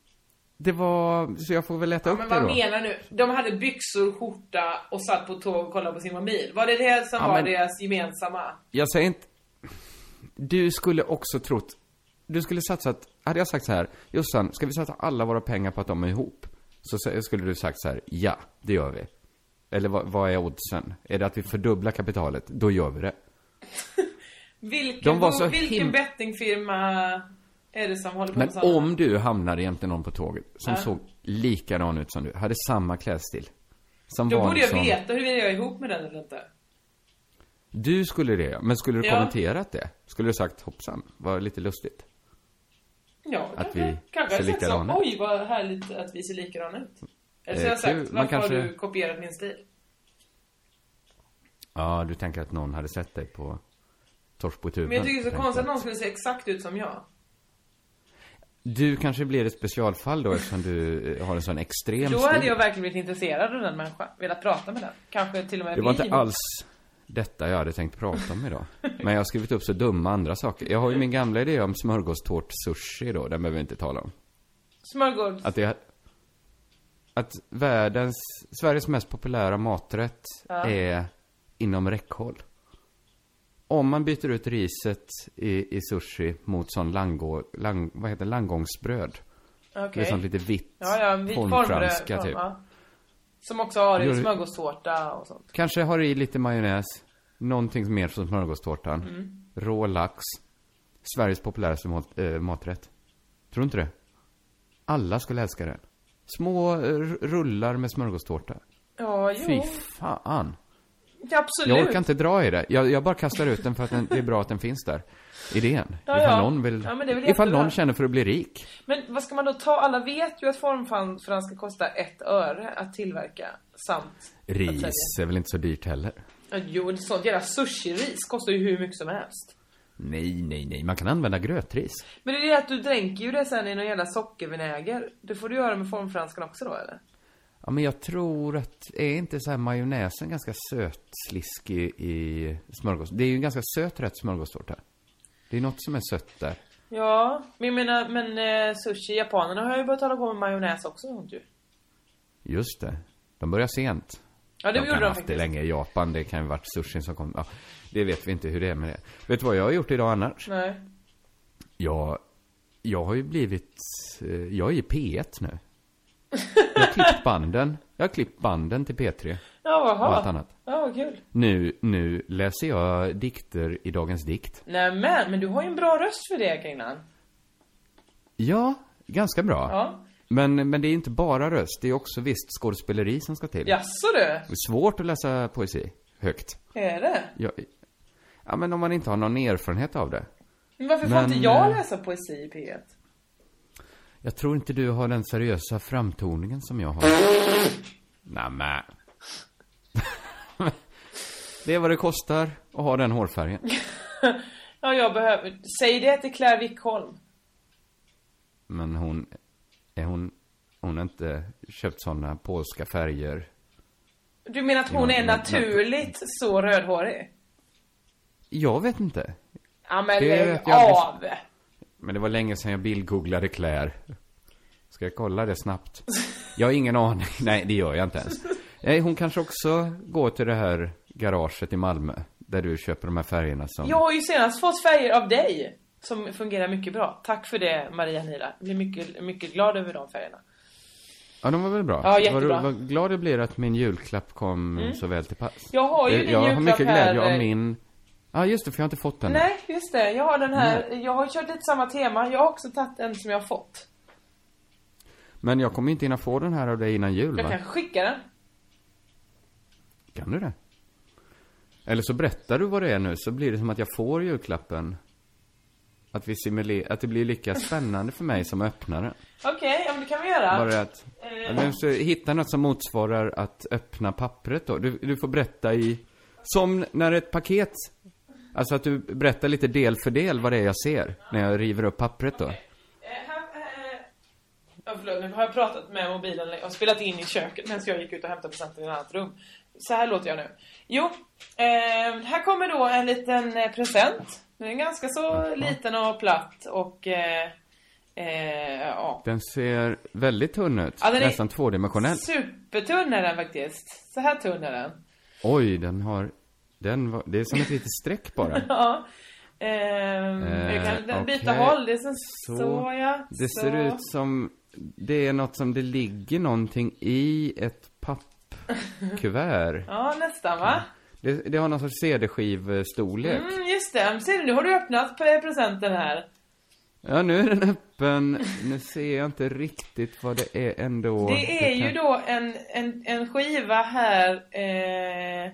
Speaker 2: det var... Så jag får väl leta upp
Speaker 3: Men
Speaker 2: det
Speaker 3: vad
Speaker 2: då.
Speaker 3: menar du? De hade byxor, skjorta och satt på tåg och kollade på sin mobil. Var det det som
Speaker 2: Ja,
Speaker 3: var
Speaker 2: men-
Speaker 3: deras gemensamma?
Speaker 2: Jag säger inte... Du skulle också trott... Du skulle satsat... Hade jag sagt så här, Jossan, ska vi satsa alla våra pengar på att de är ihop? Så sä- skulle du sagt så här, ja, det gör vi. Eller vad, vad är oddsen? Är det att vi fördubblar kapitalet? Då gör vi det.
Speaker 3: Vilken,
Speaker 2: De var så
Speaker 3: vilken
Speaker 2: him-
Speaker 3: bettingfirma är det som håller på
Speaker 2: Men
Speaker 3: med sådana?
Speaker 2: om du hamnade jämte någon på tåget som såg likadan ut som du, hade samma klädstil. Som
Speaker 3: Då
Speaker 2: var
Speaker 3: borde jag
Speaker 2: liksom,
Speaker 3: veta huruvida jag är ihop med den eller inte.
Speaker 2: Du skulle det, men skulle du
Speaker 3: Ja.
Speaker 2: kommenterat det? Skulle du sagt hoppsan, var lite lustigt?
Speaker 3: Ja,
Speaker 2: Att
Speaker 3: kanske.
Speaker 2: vi
Speaker 3: kanske
Speaker 2: ser
Speaker 3: jag har sagt
Speaker 2: likadana
Speaker 3: så,
Speaker 2: ut.
Speaker 3: Oj, vad härligt att vi ser likadana ut. Eller så
Speaker 2: Eh,
Speaker 3: har jag sagt,
Speaker 2: kul. Man
Speaker 3: varför
Speaker 2: kanske-
Speaker 3: har du kopierat min stil?
Speaker 2: Ja, du tänker att någon hade sett dig på Torsbotuben?
Speaker 3: Men jag tycker det är så
Speaker 2: tänkte
Speaker 3: konstigt att
Speaker 2: jag.
Speaker 3: någon skulle se exakt ut som jag.
Speaker 2: Du kanske blir ett specialfall då eftersom du eh, har en sån extrem
Speaker 3: Då
Speaker 2: stil.
Speaker 3: hade jag verkligen blivit intresserad av den människan. Velat prata med den. Kanske till och med
Speaker 2: Det var
Speaker 3: bli
Speaker 2: inte alls, detta jag hade tänkt prata om idag. Men jag har skrivit upp så dumma andra saker. Jag har ju min gamla idé om smörgåstårt-sushi då, den behöver vi inte tala om.
Speaker 3: Smörgås.
Speaker 2: Att det... Att världens, Sveriges mest populära maträtt är inom räckhåll. Om man byter ut riset i, i sushi mot sån lango, lang, vad heter det? langgångsbröd.
Speaker 3: Okej.
Speaker 2: Det är sånt lite vitt.
Speaker 3: Ja, ja, en vit formfranska
Speaker 2: formfranska, typ.
Speaker 3: Som också har i
Speaker 2: Gör-
Speaker 3: smörgåstårta och sånt.
Speaker 2: Kanske har i lite majonnäs. Någonting mer från smörgåstårtan.
Speaker 3: Mm.
Speaker 2: Rå lax. Sveriges populäraste mat, eh, maträtt. Tror du inte det? Alla skulle älska den. Små eh, r- rullar med smörgåstårta.
Speaker 3: Ja, jo.
Speaker 2: Fy fan.
Speaker 3: Ja, absolut.
Speaker 2: Jag orkar inte dra i det. Jag, jag bara kastar ut den för att den, det är bra att den finns där. Idén.
Speaker 3: Ja,
Speaker 2: ifall
Speaker 3: ja.
Speaker 2: någon vill...
Speaker 3: Ja, men det är väl
Speaker 2: ifall
Speaker 3: jättebra.
Speaker 2: någon känner för att bli rik.
Speaker 3: Men vad ska man då ta? Alla vet ju att formfranska kostar ett öre att tillverka. Samt att sälja.
Speaker 2: Ris är väl inte så dyrt heller?
Speaker 3: Ja, Jo, ett sånt jävla sushi-ris kostar ju hur mycket som helst.
Speaker 2: Nej, nej, nej. Man kan använda grötris.
Speaker 3: Men det är det att du dränker ju det sen i någon jävla sockervinäger. Det får du göra med formfranskan också då eller?
Speaker 2: Ja, men jag tror att, är inte så här majonnäsen ganska sötsliskig i smörgås? Det är ju en ganska söt rätt smörgåstårta. Det är något som är sött där.
Speaker 3: Ja, men jag menar, men eh, sushi, japanerna har ju börjat hålla på med majonnäs också sånt ju.
Speaker 2: Just det. De börjar sent.
Speaker 3: Ja, det
Speaker 2: de
Speaker 3: gjorde
Speaker 2: kan
Speaker 3: de
Speaker 2: ha haft det
Speaker 3: faktiskt.
Speaker 2: länge i Japan. Det kan ju varit sushin som kom. Ja, det vet vi inte hur det är med det. Vet du vad jag har gjort idag annars?
Speaker 3: Nej.
Speaker 2: Jag, jag har ju blivit, eh, jag är i P1 nu. Jag har klippt banden. Jag har klippt banden till P3.
Speaker 3: Ja, jaha.
Speaker 2: Och allt annat.
Speaker 3: Ja, vad kul.
Speaker 2: Nu, nu läser jag dikter i Dagens Dikt.
Speaker 3: Nej men, men du har ju en bra röst för det Kringlan.
Speaker 2: Ja, ganska bra.
Speaker 3: Ja.
Speaker 2: Men, men det är inte bara röst, det är också visst skådespeleri som ska till.
Speaker 3: Jaså du?
Speaker 2: Det är svårt att läsa poesi högt.
Speaker 3: Är det?
Speaker 2: Ja, ja, men om man inte har någon erfarenhet av det.
Speaker 3: Men varför
Speaker 2: Men,
Speaker 3: får inte jag
Speaker 2: eh,
Speaker 3: läsa poesi i P1?
Speaker 2: Jag tror inte du har den seriösa framtoningen som jag har. Nämen. det är vad det kostar att ha den hårfärgen.
Speaker 3: Ja, jag behöver... Säg det till Claire Wickholm.
Speaker 2: Men hon, är hon, hon har inte köpt såna polska färger.
Speaker 3: Du menar att hon
Speaker 2: Ja,
Speaker 3: är
Speaker 2: men-
Speaker 3: naturligt så rödhårig?
Speaker 2: Jag vet inte.
Speaker 3: Ja men
Speaker 2: Det
Speaker 3: lägg
Speaker 2: vet jag
Speaker 3: av!
Speaker 2: Men det var länge sedan jag bildgooglade kläder. Ska jag kolla det snabbt? Jag har ingen aning. Nej, det gör jag inte ens. Nej, hon kanske också går till det här garaget i Malmö. Där du köper de här färgerna som...
Speaker 3: Jag har ju senast fått färger av dig. Som fungerar mycket bra. Tack för det Maria Nila. Jag blir mycket, mycket glad över de färgerna.
Speaker 2: Ja, de var väl bra?
Speaker 3: Ja,
Speaker 2: Vad-
Speaker 3: jättebra. Mm.
Speaker 2: Vad glad jag blir att min julklapp kom så väl till pass. Eh,
Speaker 3: Jag har ju din
Speaker 2: Jag har
Speaker 3: julklapp
Speaker 2: mycket glädje
Speaker 3: här,
Speaker 2: av
Speaker 3: eh,
Speaker 2: min... Ja, just det, för jag har inte fått den.
Speaker 3: Nej, just det. Jag har den här. Jag har kört lite samma tema. Jag har också tagit en som jag har fått.
Speaker 2: Men jag kommer inte hinna få den här av dig innan jul,
Speaker 3: Jag
Speaker 2: va?
Speaker 3: kan skicka den.
Speaker 2: Kan du det? Eller så berättar du vad det är nu, så blir det som att jag får julklappen. Att vi simulerar, att det blir lika spännande för mig som öppnaren.
Speaker 3: Okej, ja, men det kan vi göra.
Speaker 2: Bara att,
Speaker 3: Eh.
Speaker 2: att vi måste hitta något som motsvarar att öppna pappret då. Du, du får berätta i, som när ett paket, alltså att du berättar lite del för del vad det är jag ser, när jag river upp pappret då.
Speaker 3: Eh, här, eh, ja, förlåt, nu har jag pratat med mobilen och spelat in i köket medan jag gick ut och hämtade presenten i ett annat rum. Så här låter jag nu. Jo, eh, här kommer då en liten eh, present. Den är ganska så liten och platt och... Eh, eh, ja.
Speaker 2: Den ser väldigt tunn ut,
Speaker 3: Ja, den är-
Speaker 2: nästan tvådimensionell.
Speaker 3: Supertunn är den faktiskt. Så här tunn är den.
Speaker 2: Oj, den har, den var, det är som ett litet streck bara.
Speaker 3: Ja. Ehm,
Speaker 2: Eh,
Speaker 3: jag kan den byta
Speaker 2: okej.
Speaker 3: håll. Det är sen så,
Speaker 2: Så.
Speaker 3: ja.
Speaker 2: Det
Speaker 3: så.
Speaker 2: ser ut som, det är något som det ligger någonting i ett pappkuvert.
Speaker 3: Ja, nästan va?
Speaker 2: Det, det har någon sorts CD-skivstorlek.
Speaker 3: Mm, just det. Men Ser du, nu har du öppnat pre- presenten här.
Speaker 2: Ja, nu är den öppen. Nu ser jag inte riktigt vad det är ändå.
Speaker 3: Det är ju
Speaker 2: kan-
Speaker 3: då en, en, en skiva här eh,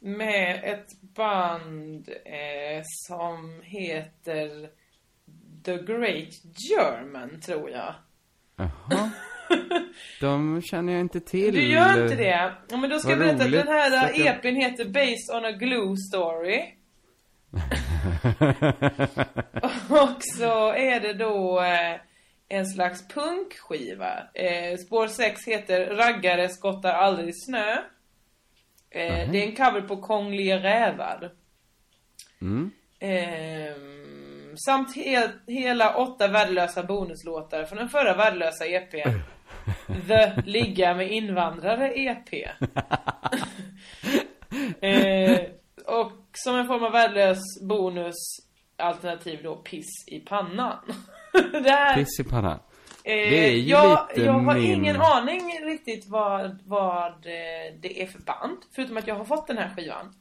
Speaker 3: med ett band eh, som heter The Great German, tror jag.
Speaker 2: Jaha. De känner jag inte till.
Speaker 3: Du gör inte det? Ja, men då ska jag
Speaker 2: Vad
Speaker 3: berätta att
Speaker 2: roligt
Speaker 3: den här
Speaker 2: att jag-
Speaker 3: EPn heter Based on a Glue Story. Och så är det då eh, en slags punkskiva. Eh, spår 6 heter Raggare skottar aldrig snö. Eh, Det är en cover på Kongliga rävar.
Speaker 2: Mm.
Speaker 3: Ehm, samt he- hela åtta värdelösa bonuslåtar från den förra värdelösa EPn. The Ligga med invandrare E EP. eh, och som en form av värdelös bonus alternativ då piss i pannan. det här,
Speaker 2: Piss i pannan.
Speaker 3: eh,
Speaker 2: det är ju
Speaker 3: jag,
Speaker 2: lite
Speaker 3: jag har
Speaker 2: min-
Speaker 3: ingen aning riktigt vad, vad eh, det är för band. Förutom att jag har fått den här skivan.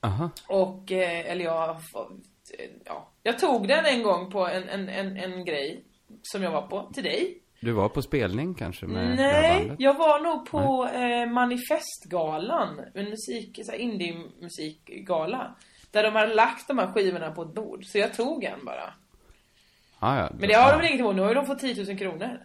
Speaker 2: Aha.
Speaker 3: Och, eh, eller jag har fått, eh, ja. Jag tog den en gång på en, en, en, en grej som jag var på, till dig.
Speaker 2: Du var på spelning kanske med det här
Speaker 3: Nej,
Speaker 2: bandet?
Speaker 3: jag var nog på eh, manifestgalan, en musik, så här indie-musikgala. Där de hade lagt de här skivorna på ett bord, så jag tog en bara.
Speaker 2: Ah, ja.
Speaker 3: Men det har
Speaker 2: ja.
Speaker 3: de väl inget emot, nu har ju de fått 10 000 kronor.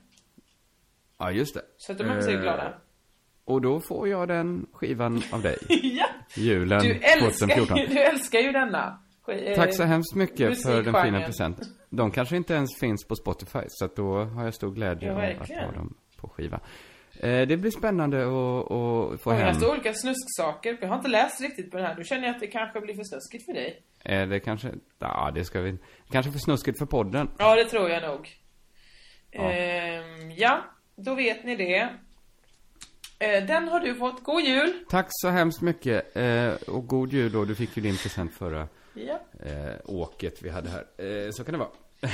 Speaker 2: Ja, just det.
Speaker 3: Så att de är säkert
Speaker 2: Eh,
Speaker 3: glada.
Speaker 2: Och då får jag den skivan av dig.
Speaker 3: ja!
Speaker 2: Julen
Speaker 3: Du älskar,
Speaker 2: 2014.
Speaker 3: ju, du älskar ju denna. Sk- eh,
Speaker 2: Tack så hemskt mycket för den fina
Speaker 3: musikgenren.
Speaker 2: presenten. De kanske inte ens finns på Spotify, så att då har jag stor glädje
Speaker 3: Ja,
Speaker 2: av att
Speaker 3: verkligen.
Speaker 2: ha dem på skiva. Eh, det blir spännande att, att få
Speaker 3: Och
Speaker 2: hem.
Speaker 3: jag står olika snusksaker, jag har inte läst riktigt på den här. Nu känner jag att det kanske blir för snuskigt för dig.
Speaker 2: Eh, det kanske, ja det ska vi, kanske för snuskigt för podden.
Speaker 3: Ja, det tror jag nog.
Speaker 2: Ja.
Speaker 3: Ja, ehm, ja då vet ni det. Eh, den har du fått. God jul!
Speaker 2: Tack så hemskt mycket. Eh, och god jul då. Du fick ju din present förra
Speaker 3: Ja.
Speaker 2: eh, åket vi hade här. Eh, så kan det vara.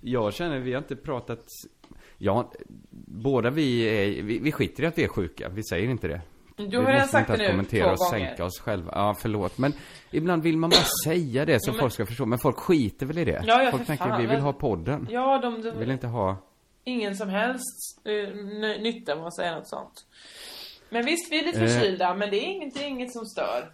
Speaker 2: jag känner, vi har inte pratat... Ja, båda vi är... Vi, vi skiter i att vi är sjuka. Vi säger inte det.
Speaker 3: Du
Speaker 2: Vi
Speaker 3: har redan
Speaker 2: måste
Speaker 3: sagt
Speaker 2: inte ens
Speaker 3: det nu
Speaker 2: kommentera
Speaker 3: två
Speaker 2: och
Speaker 3: gånger.
Speaker 2: sänka oss själva. Ja, förlåt. Men ibland vill man bara säga det så folk ska förstå. Men folk skiter väl i det?
Speaker 3: Ja, ja,
Speaker 2: folk
Speaker 3: för
Speaker 2: tänker,
Speaker 3: fan,
Speaker 2: vi vill
Speaker 3: men-
Speaker 2: ha podden.
Speaker 3: Ja, de,
Speaker 2: Vi vill
Speaker 3: de,
Speaker 2: inte ha...
Speaker 3: ingen som helst eh, ny- nytta med att säga något sånt. Men visst, vi är lite
Speaker 2: Eh.
Speaker 3: förkylda, men det är inget, det är inget som stör.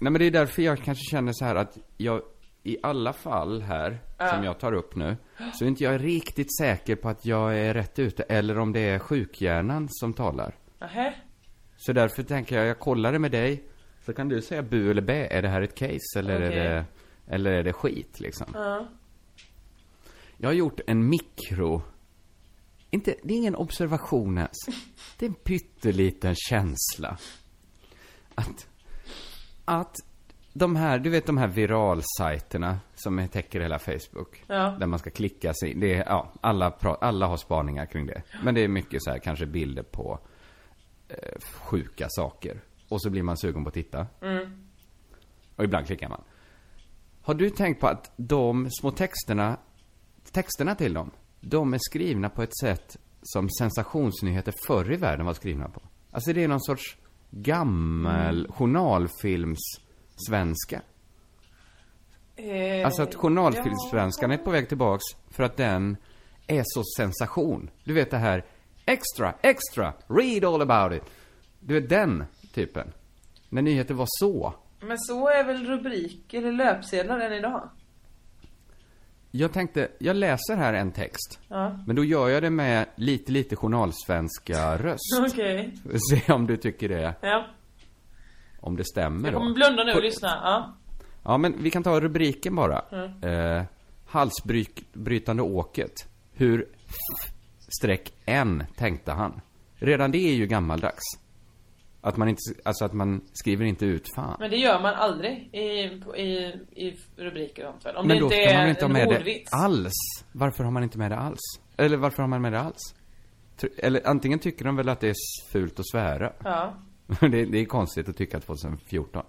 Speaker 2: Nej men det är därför jag kanske känner så här att jag i alla fall här, som jag tar upp nu, så är inte jag riktigt säker på att jag är rätt ute eller om det är sjukhjärnan som talar.
Speaker 3: Nähä?
Speaker 2: Så därför tänker jag, jag kollar det med dig, så kan du säga bu eller bä, är det här ett case eller
Speaker 3: Okej.
Speaker 2: är det, eller är det skit liksom?
Speaker 3: Ja.
Speaker 2: Jag har gjort en mikro, inte, det är ingen observation ens, det är en pytteliten känsla. Att att de här, du vet de här viralsajterna som täcker hela Facebook.
Speaker 3: Ja.
Speaker 2: Där man ska klicka sig in. Det är, ja, alla, pra- alla har spaningar kring det. Men det är mycket så här, kanske bilder på eh, sjuka saker. Och så blir man sugen på att titta. Och ibland klickar man. Har du tänkt på att de små texterna, texterna till dem, de är skrivna på ett sätt som sensationsnyheter förr i världen var skrivna på? Alltså det är någon sorts gammal journalfilms svenska.
Speaker 3: Eh,
Speaker 2: Alltså att journalfilmssvenskan är på väg tillbaks för att den är så sensation. Du vet det här, extra, extra, read all about it. Du vet den typen. När nyheter var så.
Speaker 3: Men så är väl rubriker eller löpsedlar än idag?
Speaker 2: Jag tänkte, jag läser här en text.
Speaker 3: Ja.
Speaker 2: Men då gör jag det med lite, lite journalsvenska röst.
Speaker 3: Okej.
Speaker 2: Se om du tycker det,
Speaker 3: Ja.
Speaker 2: om det stämmer
Speaker 3: Jag
Speaker 2: då.
Speaker 3: kommer blunda nu och lyssna. Ja.
Speaker 2: Ja, men vi kan ta rubriken bara. Eh, halsbrytande åket. Hur streck en tänkte han. Redan det är ju gammaldags. Att man inte, alltså att man skriver inte ut fan.
Speaker 3: Men det gör man aldrig i, i, i rubriker och sånt väl? Om
Speaker 2: Men
Speaker 3: det
Speaker 2: då
Speaker 3: inte
Speaker 2: ska man
Speaker 3: är
Speaker 2: väl inte ha
Speaker 3: en
Speaker 2: med det
Speaker 3: ordvits.
Speaker 2: alls? Varför har man inte med det alls? Eller varför har man med det alls? Tr- Eller antingen tycker de väl att det är fult att svära.
Speaker 3: Ja.
Speaker 2: det, det är konstigt att tycka 2014.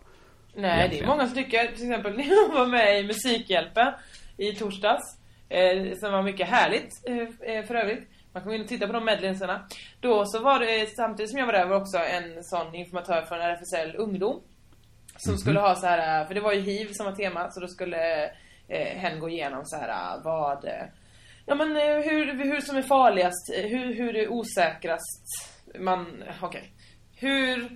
Speaker 3: Nej,
Speaker 2: Egentligen.
Speaker 3: det är många som tycker, till exempel när jag var med i Musikhjälpen i torsdags, eh, som var mycket härligt eh, eh, för övrigt. Man kan gå in och titta på de medlemmarna. Då så var det, eh, samtidigt som jag var där, var också en sån informatör från RFSL Ungdom. Som
Speaker 2: Mhm.
Speaker 3: skulle ha så här, för det var ju hiv som var temat, så då skulle eh, hen gå igenom så här vad, eh, ja men eh, hur, hur som är farligast, eh, hur, hur är osäkrast man, okej. Hur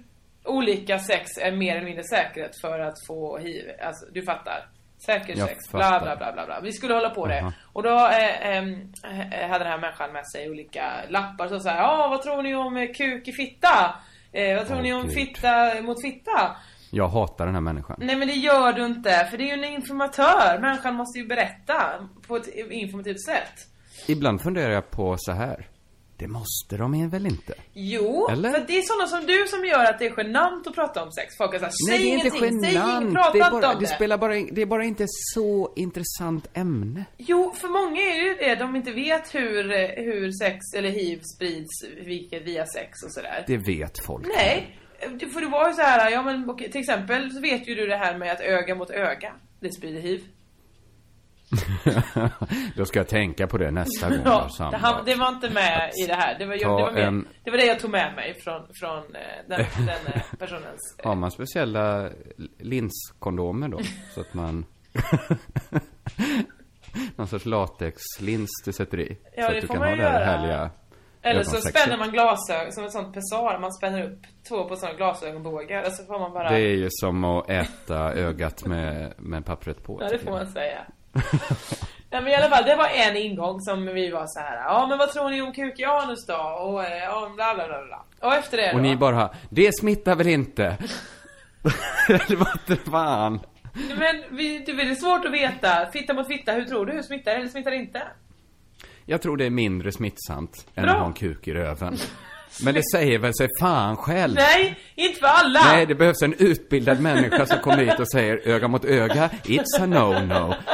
Speaker 3: olika sex är mer eller mindre säkert för att få hiv, alltså du fattar. Säker
Speaker 2: Jag
Speaker 3: sex,
Speaker 2: fattar.
Speaker 3: bla bla bla bla bla. Vi skulle hålla på det.
Speaker 2: Aha.
Speaker 3: Och då eh, ehm, eh, hade den här människan med sig olika lappar så såhär, ja vad tror ni om eh, kuk i fitta? Eh, vad tror
Speaker 2: Åh,
Speaker 3: ni om
Speaker 2: Gud.
Speaker 3: fitta mot fitta?
Speaker 2: Jag hatar den här människan.
Speaker 3: Nej men det gör du inte, för det är ju en informatör. Människan måste ju berätta på ett informativt sätt.
Speaker 2: Ibland funderar jag på så här. Det måste de väl inte?
Speaker 3: Jo,
Speaker 2: Eller?
Speaker 3: för det är sådana som du som gör att det är genant att prata om sex. Folk är såhär, säg
Speaker 2: Nej, det är inte
Speaker 3: ingenting, säg ingenting,
Speaker 2: genant.
Speaker 3: prata
Speaker 2: Det, är
Speaker 3: inte
Speaker 2: bara,
Speaker 3: om det.
Speaker 2: det, spelar bara, in- det är bara inte så intressant ämne.
Speaker 3: Jo, för många är ju det, de inte vet hur, eh, hur sex eller hiv sprids vilket, via sex och sådär.
Speaker 2: Det vet folk.
Speaker 3: Nej, eh, för det var ju så här, ja men okej, till exempel så vet ju du det här med att öga mot öga, det sprider hiv.
Speaker 2: Då ska jag tänka på det nästa gång.
Speaker 3: Ja,
Speaker 2: jag har
Speaker 3: det,
Speaker 2: samlag.
Speaker 3: han, det var inte med i det här. Det var, jag,
Speaker 2: ta
Speaker 3: det, var med,
Speaker 2: en-
Speaker 3: det var det jag tog med mig från, från eh, den, den eh, personens... eh,
Speaker 2: Har man speciella linskondomer då? Så att man... Någon sorts latexlins du sätter i.
Speaker 3: Ja,
Speaker 2: så att
Speaker 3: det
Speaker 2: du
Speaker 3: får
Speaker 2: kan
Speaker 3: man
Speaker 2: ha
Speaker 3: ju
Speaker 2: det här
Speaker 3: göra.
Speaker 2: härliga
Speaker 3: Eller så
Speaker 2: ögonsexet.
Speaker 3: spänner man glasögon, som ett sånt pessar, man spänner upp två på såna glasögonbågar och så får man bara...
Speaker 2: Det är ju som att äta ögat med, med pappret på.
Speaker 3: Ja, det
Speaker 2: tycker
Speaker 3: får
Speaker 2: jag.
Speaker 3: man säga. Nej men i alla fall, det var en ingång som vi var så här. ja men vad tror ni om kukianus då? Och eh, om bla bla bla bla. Och efter det då,
Speaker 2: Och ni bara, det smittar väl inte? Eller vad fan?
Speaker 3: Men vi, det är svårt att veta, fitta mot fitta, hur tror du? Hur smittar det eller smittar det inte?
Speaker 2: Jag tror det är mindre smittsamt än
Speaker 3: Bra.
Speaker 2: att ha en kuk i röven. Men det säger väl sig fan själv?
Speaker 3: Nej, inte för alla!
Speaker 2: Nej, det behövs en utbildad människa som kommer hit och säger öga mot öga, it's a no-no.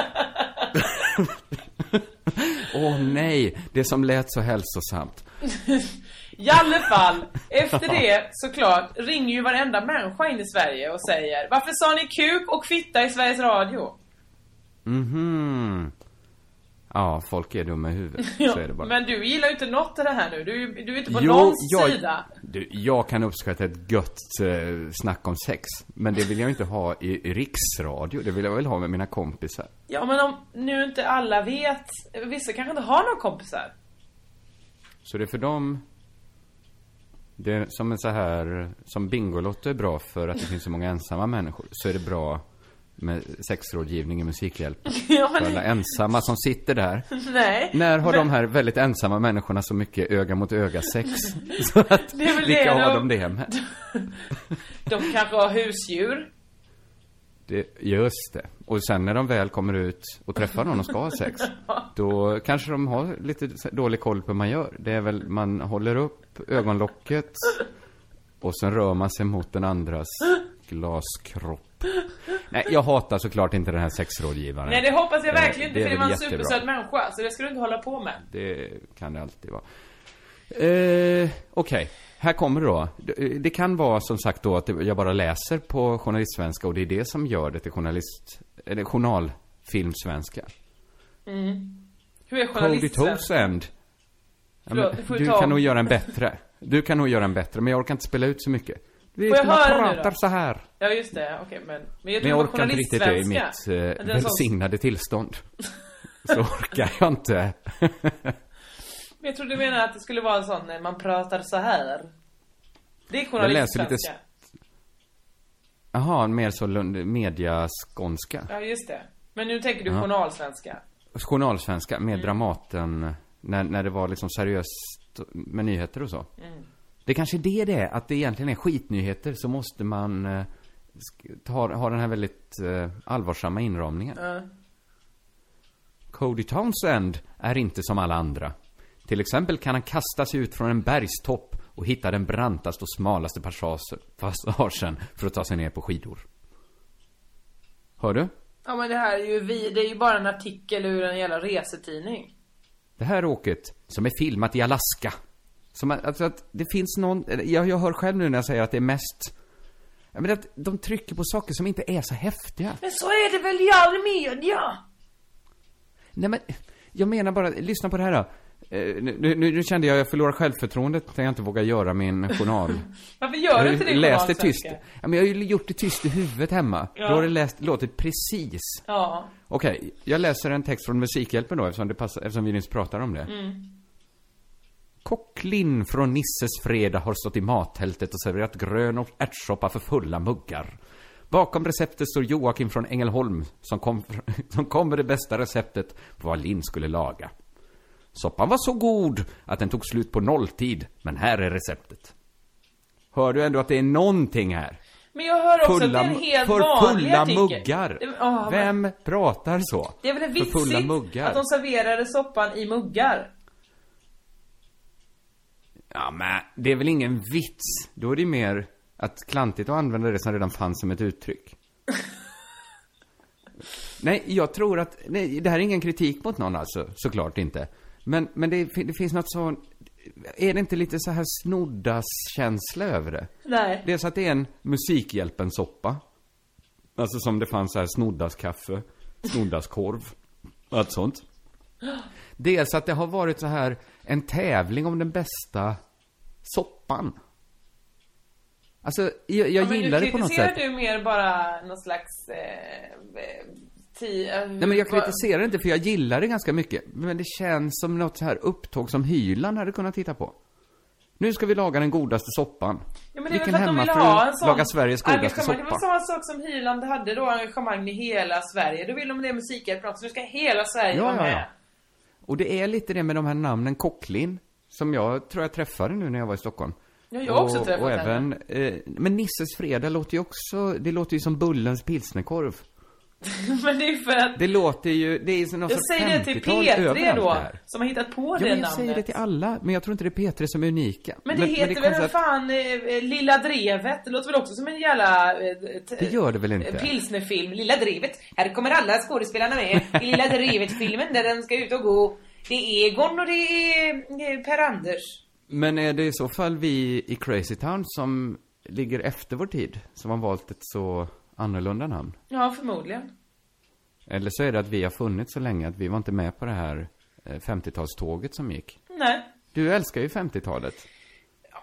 Speaker 2: Åh nej, det som lät så hälsosamt.
Speaker 3: I alla fall, efter det såklart ringer ju varenda människa in i Sverige och säger Varför sa ni kuk och fitta i Sveriges Radio?
Speaker 2: Mhm. Ja, folk är dumma i huvudet. Så är det bara.
Speaker 3: Men du gillar ju inte något av det här nu, du, är ju- du är inte på
Speaker 2: Jo,
Speaker 3: någons
Speaker 2: jag,
Speaker 3: sida.
Speaker 2: Du, jag kan uppskatta ett gött eh, snack om sex. Men det vill jag inte ha i, i riksradio. Det vill jag väl ha med mina kompisar.
Speaker 3: Ja men om nu inte alla vet, vissa kanske inte har några kompisar.
Speaker 2: Så det är för dem... Det är som en så här... Som Bingolotto är bra för att det finns så många ensamma människor. Så är det bra med sexrådgivning i Musikhjälpen.
Speaker 3: Ja,
Speaker 2: För alla
Speaker 3: men,
Speaker 2: ensamma som sitter där.
Speaker 3: nej.
Speaker 2: När har de här väldigt ensamma människorna så mycket öga mot öga sex? Så att,
Speaker 3: Det är väl
Speaker 2: vilka
Speaker 3: det
Speaker 2: har de
Speaker 3: de-
Speaker 2: det med?
Speaker 3: De kanske har husdjur.
Speaker 2: Det, just det. Och sen när de väl kommer ut och träffar någon och ska ha sex, då kanske de har lite dålig koll på hur man gör. Det är väl, man håller upp ögonlocket och sen rör man sig mot den andras glaskropp. Nej, jag hatar såklart inte den här sexrådgivaren.
Speaker 3: Nej det hoppas jag
Speaker 2: Eh,
Speaker 3: verkligen inte
Speaker 2: det är
Speaker 3: för
Speaker 2: väl
Speaker 3: det var en
Speaker 2: jättebra.
Speaker 3: supersöt människa så det ska du inte hålla på med.
Speaker 2: Det kan det alltid vara. Eh, Okej, här kommer det då. Det- Det kan vara som sagt då att det- jag bara läser på journalistsvenska och det är det som gör det till journalist... Eller journalfilmsvenska.
Speaker 3: Hur är
Speaker 2: Cody
Speaker 3: journalisten?
Speaker 2: Toesend. Ja,
Speaker 3: Förlåt,
Speaker 2: men
Speaker 3: får vi
Speaker 2: du
Speaker 3: ta om.
Speaker 2: kan nog göra en bättre. Du kan nog göra en bättre, men jag orkar inte spela ut så mycket. Vi
Speaker 3: Får jag höra nu
Speaker 2: pratar
Speaker 3: då?
Speaker 2: så här.
Speaker 3: Ja just det, okej men.
Speaker 2: Men
Speaker 3: Men jag tror
Speaker 2: jag
Speaker 3: det var
Speaker 2: orkar inte riktigt det i mitt
Speaker 3: journalistsvenska.
Speaker 2: eh,
Speaker 3: Det är en sån-
Speaker 2: välsignade tillstånd. Så orkar jag inte.
Speaker 3: Men jag tror du menar att det skulle vara en sån, eh, man pratar så här. Det är
Speaker 2: Jag läser lite
Speaker 3: journalistsvenska.
Speaker 2: Jaha, mer så lund- mediaskånska.
Speaker 3: Ja just det. Men nu tänker du
Speaker 2: Ja.
Speaker 3: journalsvenska.
Speaker 2: journalsvenska med Dramaten när, när det var liksom seriöst med nyheter och så. Det kanske är det det är, att det egentligen är skitnyheter så måste man eh, sk- ta, ha den här väldigt eh, allvarsamma inramningen. Cody Townsend är inte som alla andra. Till exempel kan han kasta sig ut från en bergstopp och hitta den brantaste och smalaste passage- passagen för att ta sig ner på skidor. Hör du?
Speaker 3: Ja men det här är ju vi, det är ju bara en artikel ur en jävla resetidning.
Speaker 2: Det här åket som är filmat i Alaska. Som att, alltså att det finns någon, eller jag, jag hör själv nu när jag säger att det är mest Ja, men att de trycker på saker som inte är så häftiga.
Speaker 3: Men så är det väl i all media!
Speaker 2: Nej men, jag menar bara, lyssna på det här då. Eh, nu, nu, nu kände jag att jag förlorar självförtroendet när jag inte vågar göra min journal.
Speaker 3: Varför gör du inte det i
Speaker 2: läst det tyst.
Speaker 3: journalsvenska?
Speaker 2: Ja, men jag har ju gjort det tyst i huvudet hemma.
Speaker 3: Ja.
Speaker 2: Då har det läst, låtit precis.
Speaker 3: Ja.
Speaker 2: Okej, jag läser en text från Musikhjälpen då eftersom, det passar, eftersom vi nyss pratade om det. Kocklin från Nisses fredag har stått i mattältet och serverat grön och ärtsoppa för fulla muggar. Bakom receptet står Joakim från Ängelholm som kom, som kom med det bästa receptet på vad Linn skulle laga. Soppan var så god att den tog slut på nolltid, men här är receptet. Hör du ändå att det är någonting här?
Speaker 3: Men jag hör också
Speaker 2: Fulla,
Speaker 3: att det är en helt
Speaker 2: för
Speaker 3: vanlig
Speaker 2: fulla
Speaker 3: artikel.
Speaker 2: muggar!
Speaker 3: Det, ja, men
Speaker 2: Vem pratar så?
Speaker 3: det är väl
Speaker 2: För
Speaker 3: vitsigt
Speaker 2: fulla muggar?
Speaker 3: att de serverade soppan i muggar?
Speaker 2: Ja, men det är väl ingen vits. Då är det mer att klantigt att använda det som redan fanns som ett uttryck. nej, jag tror att, nej, det här är ingen kritik mot någon alltså, såklart inte. Men, men det, fin- det finns något sån, är det inte lite så här snoddas-känsla över det?
Speaker 3: Nej.
Speaker 2: Dels att det är en Musikhjälpen-soppa. Alltså som det fanns så här snoddas-kaffe, snoddas-korv, allt sånt. Dels att det har varit så här en tävling om den bästa soppan. Alltså, jag, jag
Speaker 3: Ja, men
Speaker 2: gillar
Speaker 3: nu
Speaker 2: det på något
Speaker 3: kritiserar
Speaker 2: sätt.
Speaker 3: du mer bara någon slags... Eh, eh, ti, eh,
Speaker 2: Nej men jag
Speaker 3: vad-
Speaker 2: kritiserar inte för jag gillar det ganska mycket. Men det känns som något så här upptåg som Hyland hade kunnat titta på. Nu ska vi laga den godaste soppan.
Speaker 3: Ja, men det är väl
Speaker 2: Vilken
Speaker 3: för att de vill
Speaker 2: hemmafru
Speaker 3: ha en sån
Speaker 2: lagar Sveriges godaste
Speaker 3: engagemang.
Speaker 2: soppa?
Speaker 3: Det var samma sak som Hyland hade då, engagemang i hela Sverige. Då vill de det Musikhjälpen också, nu ska hela Sverige
Speaker 2: Ja,
Speaker 3: vara
Speaker 2: ja,
Speaker 3: med.
Speaker 2: ja. Och det är lite det med de här namnen, Kocklin, som jag tror jag träffade nu när jag var i Stockholm.
Speaker 3: Ja, jag har också
Speaker 2: och,
Speaker 3: träffat
Speaker 2: och även, eh, Men Nisses Fredag låter ju också, det låter ju som Bullens pilsnerkorv.
Speaker 3: Men det är för att...
Speaker 2: Det låter ju, det är ju som någon
Speaker 3: Jag
Speaker 2: sorts
Speaker 3: säger det till
Speaker 2: 50-tal
Speaker 3: P3
Speaker 2: överallt
Speaker 3: då,
Speaker 2: där.
Speaker 3: som har hittat på
Speaker 2: Ja,
Speaker 3: det
Speaker 2: men jag
Speaker 3: namnet.
Speaker 2: säger det till alla, men jag tror inte det är P3 som är unika.
Speaker 3: Men det heter
Speaker 2: är
Speaker 3: väl
Speaker 2: konstigt
Speaker 3: för fan eh, eh, Lilla Drevet? Det låter väl också som en jävla... eh, t-
Speaker 2: Det gör det väl inte?
Speaker 3: eh, Pilsnerfilm. Lilla Drevet. Här kommer alla skådespelarna med i Lilla Drevet-filmen där den ska ut och gå. Det är Egon och det är eh, Per-Anders.
Speaker 2: Men är det i så fall vi i Crazy Town som ligger efter vår tid, som har valt ett så annorlunda namn?
Speaker 3: Ja, förmodligen.
Speaker 2: Eller så är det att vi har funnits så länge att vi var inte med på det här eh, 50-talståget som gick.
Speaker 3: Nej.
Speaker 2: Du älskar ju 50-talet.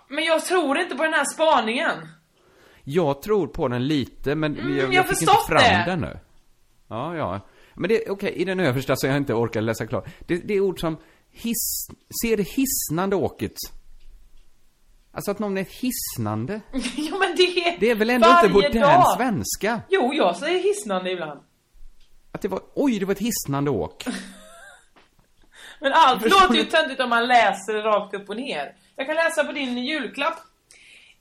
Speaker 3: Men jag tror inte på den här spaningen.
Speaker 2: Jag tror på den lite, men
Speaker 3: Mm,
Speaker 2: jag,
Speaker 3: jag
Speaker 2: jag,
Speaker 3: har
Speaker 2: fick inte
Speaker 3: förstått
Speaker 2: fram
Speaker 3: det.
Speaker 2: den nu. Ja, ja. Men det, okej, i den översta så jag inte orkar läsa klart. Det, det är ord som hiss, ser det hisnande åket. Alltså att någon är hisnande.
Speaker 3: jo men det är...
Speaker 2: Det är väl ändå
Speaker 3: varje
Speaker 2: inte modern
Speaker 3: dag.
Speaker 2: svenska?
Speaker 3: Jo, jag säger hisnande ibland.
Speaker 2: Att det var, oj, det var ett hisnande åk.
Speaker 3: Men allt
Speaker 2: Förstår
Speaker 3: låter ju
Speaker 2: du?
Speaker 3: töntigt om man läser det rakt upp och ner. Jag kan läsa på din julklapp.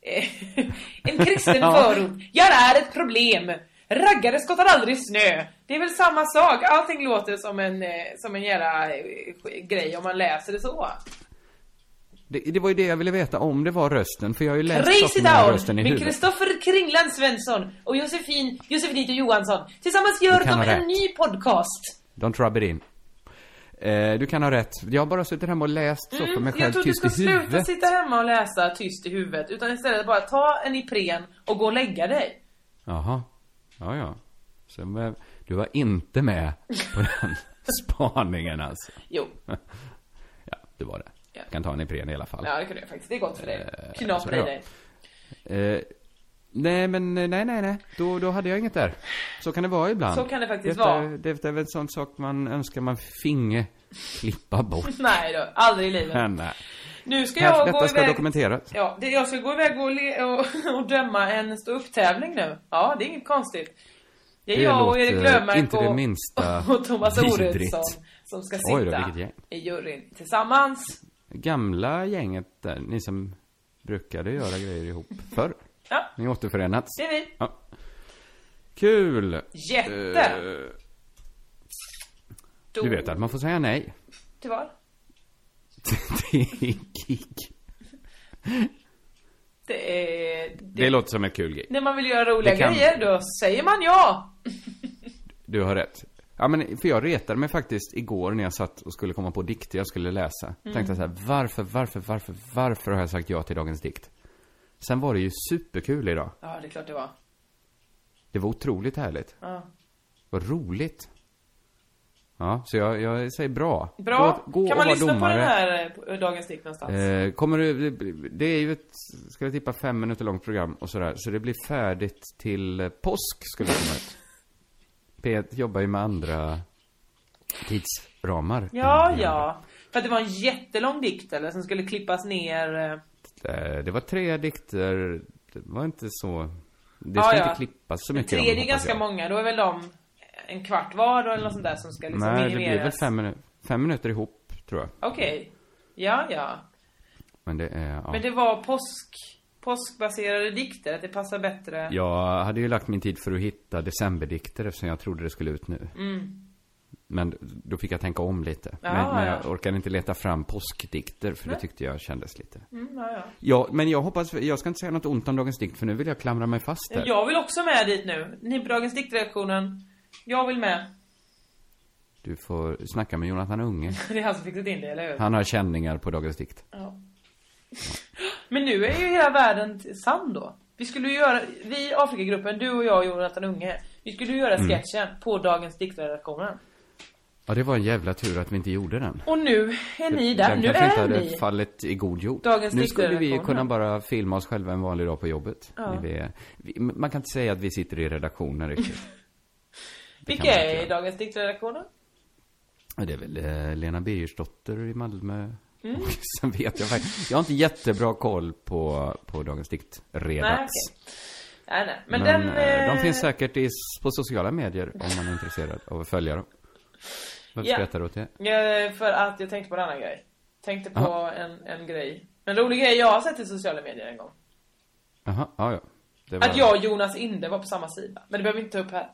Speaker 3: Eh, en kristen
Speaker 2: Ja.
Speaker 3: förort. Jag är ett problem. Raggare skottar aldrig snö. Det är väl samma sak. Allting låter som en, eh, som en jävla eh, grej om man läser det så.
Speaker 2: Det, det var ju det jag ville veta, om det var rösten, för jag har ju läst
Speaker 3: Race
Speaker 2: saker
Speaker 3: it
Speaker 2: med den här
Speaker 3: out
Speaker 2: rösten i
Speaker 3: med
Speaker 2: huvudet.
Speaker 3: Kristoffer Kringland Svensson och Josefin Josefinito Johansson. Tillsammans gör
Speaker 2: kan
Speaker 3: de
Speaker 2: ha
Speaker 3: en
Speaker 2: rätt.
Speaker 3: ny podcast.
Speaker 2: Don't rub it in. Eh, du kan ha rätt. Jag har bara suttit hemma och läst så för mig
Speaker 3: Mm, jag
Speaker 2: själv
Speaker 3: tror du
Speaker 2: tyst
Speaker 3: ska
Speaker 2: i
Speaker 3: sluta
Speaker 2: huvudet.
Speaker 3: sitta hemma och läsa tyst i huvudet utan istället bara ta en Ipren och gå och lägga dig.
Speaker 2: Jaha. Ja, ja. Så, men, du var inte med på den spaningen alltså.
Speaker 3: Jo,
Speaker 2: Ja, det var det.
Speaker 3: Ja.
Speaker 2: Jag kan ta en Ipren i alla fall.
Speaker 3: ja det kan du göra faktiskt. Det är gott för dig.
Speaker 2: Eh,
Speaker 3: Knapra i
Speaker 2: så, ja.
Speaker 3: dig.
Speaker 2: Eh, nej, men eh, nej, nej, nej. Då, då hade jag inget där. Så kan det vara ibland.
Speaker 3: Så kan det faktiskt
Speaker 2: Detta-
Speaker 3: vara.
Speaker 2: Det är väl en sån sak man önskar man finge klippa bort.
Speaker 3: Nej då, aldrig i livet.
Speaker 2: Men, nej.
Speaker 3: Nu ska
Speaker 2: Här,
Speaker 3: jag gå
Speaker 2: detta ska
Speaker 3: iväg.
Speaker 2: dokumenteras.
Speaker 3: Ja, det, jag ska gå iväg och, le- och, och döma en ståupptävling nu. Ja, det är inget konstigt. Det är
Speaker 2: Det
Speaker 3: jag och
Speaker 2: låter eh,
Speaker 3: Erik Löfmark
Speaker 2: inte det
Speaker 3: och,
Speaker 2: minsta
Speaker 3: och Thomas
Speaker 2: vidrigt.
Speaker 3: Oredsson som ska
Speaker 2: Oj då,
Speaker 3: sitta
Speaker 2: vilket gäng.
Speaker 3: i juryn tillsammans.
Speaker 2: Gamla gänget där, ni som brukade göra grejer ihop förr.
Speaker 3: Ja,
Speaker 2: Ni har återförenats.
Speaker 3: det är vi.
Speaker 2: Ja. Kul!
Speaker 3: Jätte!
Speaker 2: Eh,
Speaker 3: Då-
Speaker 2: Du vet att man får säga nej.
Speaker 3: Till vad?
Speaker 2: Det är gig.
Speaker 3: Det är...
Speaker 2: Det låter som ett kul gig.
Speaker 3: När man vill göra roliga
Speaker 2: Det kan-
Speaker 3: grejer, då säger man ja!
Speaker 2: Du har rätt. Ja men, för jag retade mig faktiskt igår när jag satt och skulle komma på dikter jag skulle läsa. Tänkte jag så här, varför, varför, varför, varför har jag sagt ja till dagens dikt? Sen var det ju superkul idag.
Speaker 3: Ja, det är klart det var.
Speaker 2: Det var otroligt härligt.
Speaker 3: Ja.
Speaker 2: Vad roligt. Ja, så jag, jag säger bra.
Speaker 3: Bra!
Speaker 2: Gå, gå
Speaker 3: kan
Speaker 2: och
Speaker 3: man
Speaker 2: var
Speaker 3: lyssna på
Speaker 2: domare.
Speaker 3: den här eh, på Dagens Dikt någonstans?
Speaker 2: Eh, kommer du, det är ju ett, ska jag tippa, fem minuter långt program och sådär. Så det blir färdigt till eh, påsk skulle det komma ut. P1 jobbar ju med andra tidsramar. Mm.
Speaker 3: ja,
Speaker 2: än vi andra.
Speaker 3: ja. För att det var en jättelång dikt eller, som skulle klippas ner. eh,
Speaker 2: Eh, det var tre dikter, det var inte så, det
Speaker 3: Ja,
Speaker 2: ska
Speaker 3: ja.
Speaker 2: inte klippas så mycket.
Speaker 3: Tre,
Speaker 2: av dem,
Speaker 3: det är ganska
Speaker 2: hoppas jag.
Speaker 3: många. Då är väl de en kvart var då, eller något sånt där som ska liksom
Speaker 2: Nej, det
Speaker 3: minimeras.
Speaker 2: blir väl fem, minu- fem minuter ihop, tror jag.
Speaker 3: Okej. Ja, ja.
Speaker 2: Men det är, ja.
Speaker 3: Men det var påsk... Påskbaserade dikter, att det passar bättre.
Speaker 2: Jag hade ju lagt min tid för att hitta decemberdikter eftersom jag trodde det skulle ut nu. Men då fick jag tänka om lite.
Speaker 3: Mm. Ja,
Speaker 2: men, men
Speaker 3: ja.
Speaker 2: jag orkade inte leta fram påskdikter för det tyckte jag kändes lite.
Speaker 3: Mm, ja, ja.
Speaker 2: Ja, men jag hoppas, jag ska inte säga något ont om dagens dikt för nu vill jag klamra mig fast där.
Speaker 3: Jag vill också med dit nu. Ni på Dagens diktredaktionen. Jag vill med.
Speaker 2: Du får snacka med Jonathan Unge.
Speaker 3: Det är han som fixat in det, eller hur?
Speaker 2: Han har känningar på dagens dikt.
Speaker 3: Ja. Men nu är ju hela världen t- sann då. Vi skulle ju göra, vi i Afrikagruppen, du och jag och Jonathan Unge. Vi skulle ju
Speaker 2: Mm.
Speaker 3: göra sketchen på Dagens diktredaktionen.
Speaker 2: Ja, det var en jävla tur att vi inte gjorde den.
Speaker 3: Och nu är ni där,
Speaker 2: Den
Speaker 3: nu
Speaker 2: kanske inte
Speaker 3: är
Speaker 2: hade
Speaker 3: ni.
Speaker 2: fallit i god jord.
Speaker 3: Dagens
Speaker 2: nu skulle vi
Speaker 3: diktredaktion,
Speaker 2: kunna
Speaker 3: ja.
Speaker 2: bara filma oss själva en vanlig dag på jobbet.
Speaker 3: Ja.
Speaker 2: När Vi är, vi, man kan inte säga att vi sitter i redaktionen riktigt. Det kan
Speaker 3: Vilka
Speaker 2: man inte
Speaker 3: är i
Speaker 2: göra.
Speaker 3: Dagens diktredaktionen?
Speaker 2: Ja, Det är väl eh, Lena Birgersdotter i Malmö.
Speaker 3: Mm.
Speaker 2: Och sen vet jag faktiskt. Jag har inte jättebra koll på, på Dagens Dikt
Speaker 3: Nej,
Speaker 2: redaks.
Speaker 3: okej. Nej, nej. Men,
Speaker 2: Men,
Speaker 3: den...
Speaker 2: eh, de
Speaker 3: eh,
Speaker 2: finns säkert i, s- på sociala medier om man är intresserad av att följa dem. Varför
Speaker 3: Ja.
Speaker 2: skrattar du åt det?
Speaker 3: Eh, För att jag tänkte på en annan grej. Tänkte på en, en grej. En rolig grej jag har sett i sociala medier en gång.
Speaker 2: Jaha, ja, ja. Det var,
Speaker 3: Att jag och Jonas Inde var på samma sida. Men det behöver vi inte ta upp här.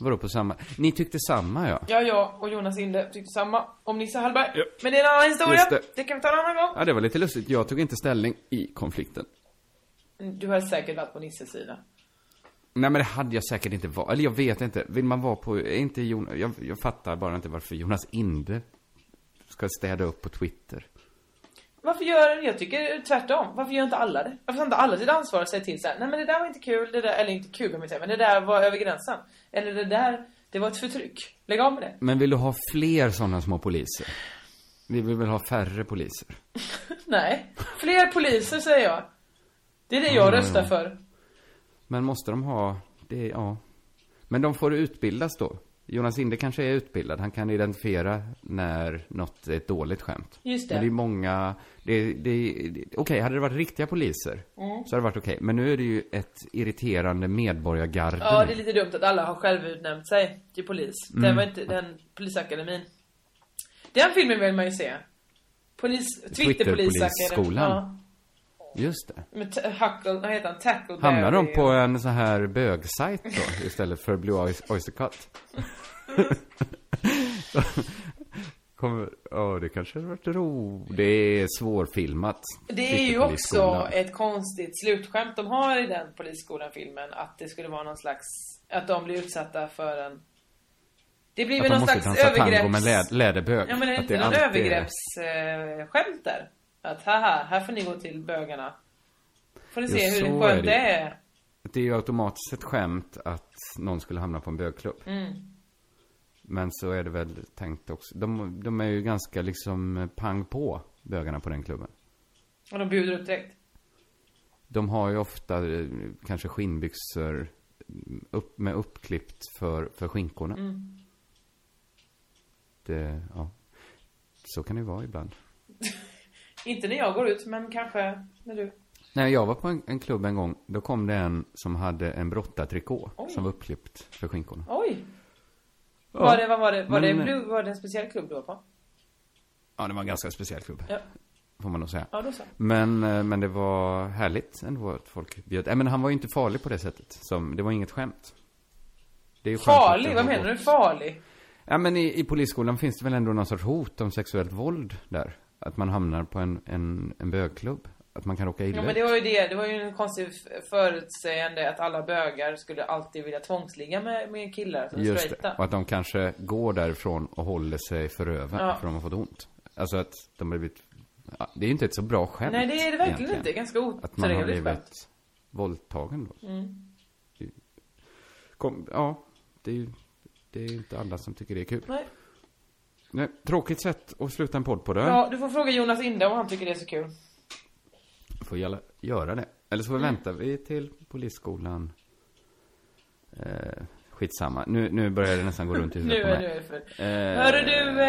Speaker 2: Vadå på samma? Ni tyckte samma ja.
Speaker 3: Ja, jag och Jonas Inde tyckte samma om Nisse Hallberg. Men det är en annan historia.
Speaker 2: Just
Speaker 3: Det.
Speaker 2: det.
Speaker 3: kan vi ta en annan gång.
Speaker 2: Ja, det var lite lustigt. Jag tog inte ställning i konflikten.
Speaker 3: Du har säkert varit på Nisses sida.
Speaker 2: Nej men det hade jag säkert inte varit, eller jag vet inte. Vill man vara på, är inte Jonas, jag, jag fattar bara inte varför Jonas Inde ska städa upp på Twitter.
Speaker 3: Varför gör, jag tycker tvärtom. Varför gör inte alla det? Varför tar inte alla sitt ansvar och säger till så här, nej men det där var inte kul, det där, eller inte kul kan man säga, men det där var över gränsen. Eller det där, det var ett förtryck. Lägg av med det.
Speaker 2: Men vill du ha fler sådana små poliser? Vi vill väl ha färre poliser?
Speaker 3: Nej. Fler poliser säger jag. Det är det
Speaker 2: Mm.
Speaker 3: jag röstar för.
Speaker 2: Men måste de ha, det, ja. Men de får utbildas då. Jonas Inde kanske är utbildad, han kan identifiera när något är ett dåligt skämt.
Speaker 3: Just det.
Speaker 2: Men det är många, det, det, det okej, hade det varit riktiga poliser
Speaker 3: Mm.
Speaker 2: så hade det varit okej. Men nu är det ju ett irriterande medborgargarde
Speaker 3: Ja,
Speaker 2: nu.
Speaker 3: det är lite dumt att alla har självutnämnt sig till polis.
Speaker 2: Mm.
Speaker 3: Den var inte, den polisakademin. Den filmen vill man ju se. Polis, Twitterpolisakademin.
Speaker 2: Twitterpolisskolan.
Speaker 3: Ja.
Speaker 2: Just det.
Speaker 3: Med t- Huckle, vad heter han? Tackle
Speaker 2: Hamnar de
Speaker 3: Berry.
Speaker 2: på en så här bögsajt då, istället för Blue Oy- Oyster Cut? Kommer, ja det kanske hade varit ro. Det är svårfilmat.
Speaker 3: Det är ju
Speaker 2: Twitterpolisskolan.
Speaker 3: också ett konstigt slutskämt de har i den polisskolan-filmen. Att det skulle vara någon slags... Att de blir utsatta för en... Det blir
Speaker 2: Att
Speaker 3: väl
Speaker 2: de
Speaker 3: någon
Speaker 2: måste
Speaker 3: slags
Speaker 2: dansa tango med
Speaker 3: övergrepps...
Speaker 2: lä- läderbög.
Speaker 3: Ja men är det
Speaker 2: Att
Speaker 3: inte någon
Speaker 2: alltid är-
Speaker 3: övergreppsskämt där? Att haha, här får ni gå till bögarna. Får ni se
Speaker 2: Ja,
Speaker 3: hur
Speaker 2: så
Speaker 3: skönt
Speaker 2: är
Speaker 3: det.
Speaker 2: det.
Speaker 3: är.
Speaker 2: Det är ju automatiskt ett skämt att någon skulle hamna på en bögklubb.
Speaker 3: Mm.
Speaker 2: Men så är det väl tänkt också. De, de är ju ganska liksom pang på, bögarna på den klubben.
Speaker 3: Och de bjuder upp direkt.
Speaker 2: De har ju ofta eh, kanske skinnbyxor mm, upp, med uppklippt för, för skinkorna.
Speaker 3: Mm.
Speaker 2: Det, ja. Så kan det ju vara ibland.
Speaker 3: Inte när jag går ut, men kanske när du...
Speaker 2: Nej, jag var på en, en klubb en gång. Då kom det en som hade en brottartrikå
Speaker 3: Oj.
Speaker 2: som var uppklippt för skinkorna.
Speaker 3: Oj! Var det, vad var det, var
Speaker 2: Men-
Speaker 3: det, blue, var det en speciell klubb du var på?
Speaker 2: Ja, det var en ganska speciell klubb.
Speaker 3: Ja,
Speaker 2: Får man nog säga.
Speaker 3: ja då så.
Speaker 2: Men, eh, men det var härligt ändå att folk bjöd. Nej, men han var ju inte farlig på det sättet. Som, det var inget skämt. Det är ju skönt att
Speaker 3: Farlig?
Speaker 2: det
Speaker 3: Vad
Speaker 2: har
Speaker 3: menar
Speaker 2: gått.
Speaker 3: du farlig?
Speaker 2: Ja, men i, i polisskolan finns det väl ändå någon sorts hot om sexuellt våld där? Att man hamnar på en, en, en bögklubb? Att man kan råka illa
Speaker 3: Ja men
Speaker 2: ut?
Speaker 3: det var ju det, det var ju en konstig f- förutsägande att alla bögar skulle alltid vilja tvångsligga med, med killar som är
Speaker 2: Just
Speaker 3: straighta.
Speaker 2: det. Och att de kanske går därifrån och håller sig för röven
Speaker 3: Ja.
Speaker 2: för de har fått ont. Alltså att de har blivit... Ja, det är ju inte ett så bra skämt.
Speaker 3: Nej det är det verkligen
Speaker 2: egentligen.
Speaker 3: inte, ganska
Speaker 2: Att man har
Speaker 3: otrevligt
Speaker 2: blivit
Speaker 3: skämt. Mm.
Speaker 2: våldtagen då. Kom, ja, det är ju det är ju inte alla som tycker det är kul.
Speaker 3: Nej.
Speaker 2: Nej, tråkigt sätt att sluta en podd på det.
Speaker 3: Ja, du får fråga Jonas Inde om han tycker det är så kul.
Speaker 2: får gälla, göra det. Eller
Speaker 3: Mm.
Speaker 2: så väntar vi till polisskolan. Eh, skitsamma. Nu, nu börjar det nästan gå runt i
Speaker 3: Nu
Speaker 2: huvudet på
Speaker 3: är
Speaker 2: mig.
Speaker 3: du för...
Speaker 2: Eh,
Speaker 3: Hörru du,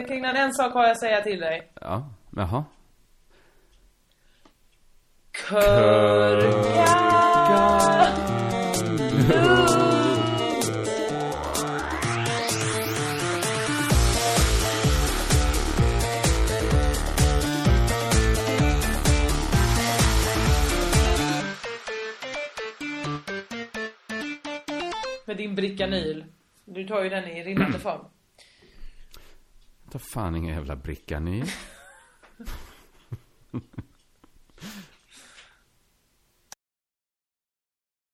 Speaker 3: eh, Kringlan, en sak har jag att säga till dig.
Speaker 2: Ja, jaha.
Speaker 3: Kör! Med din Bricanyl. Du tar ju den i rinnande form.
Speaker 2: Ta fan ingen jävla bricka ni.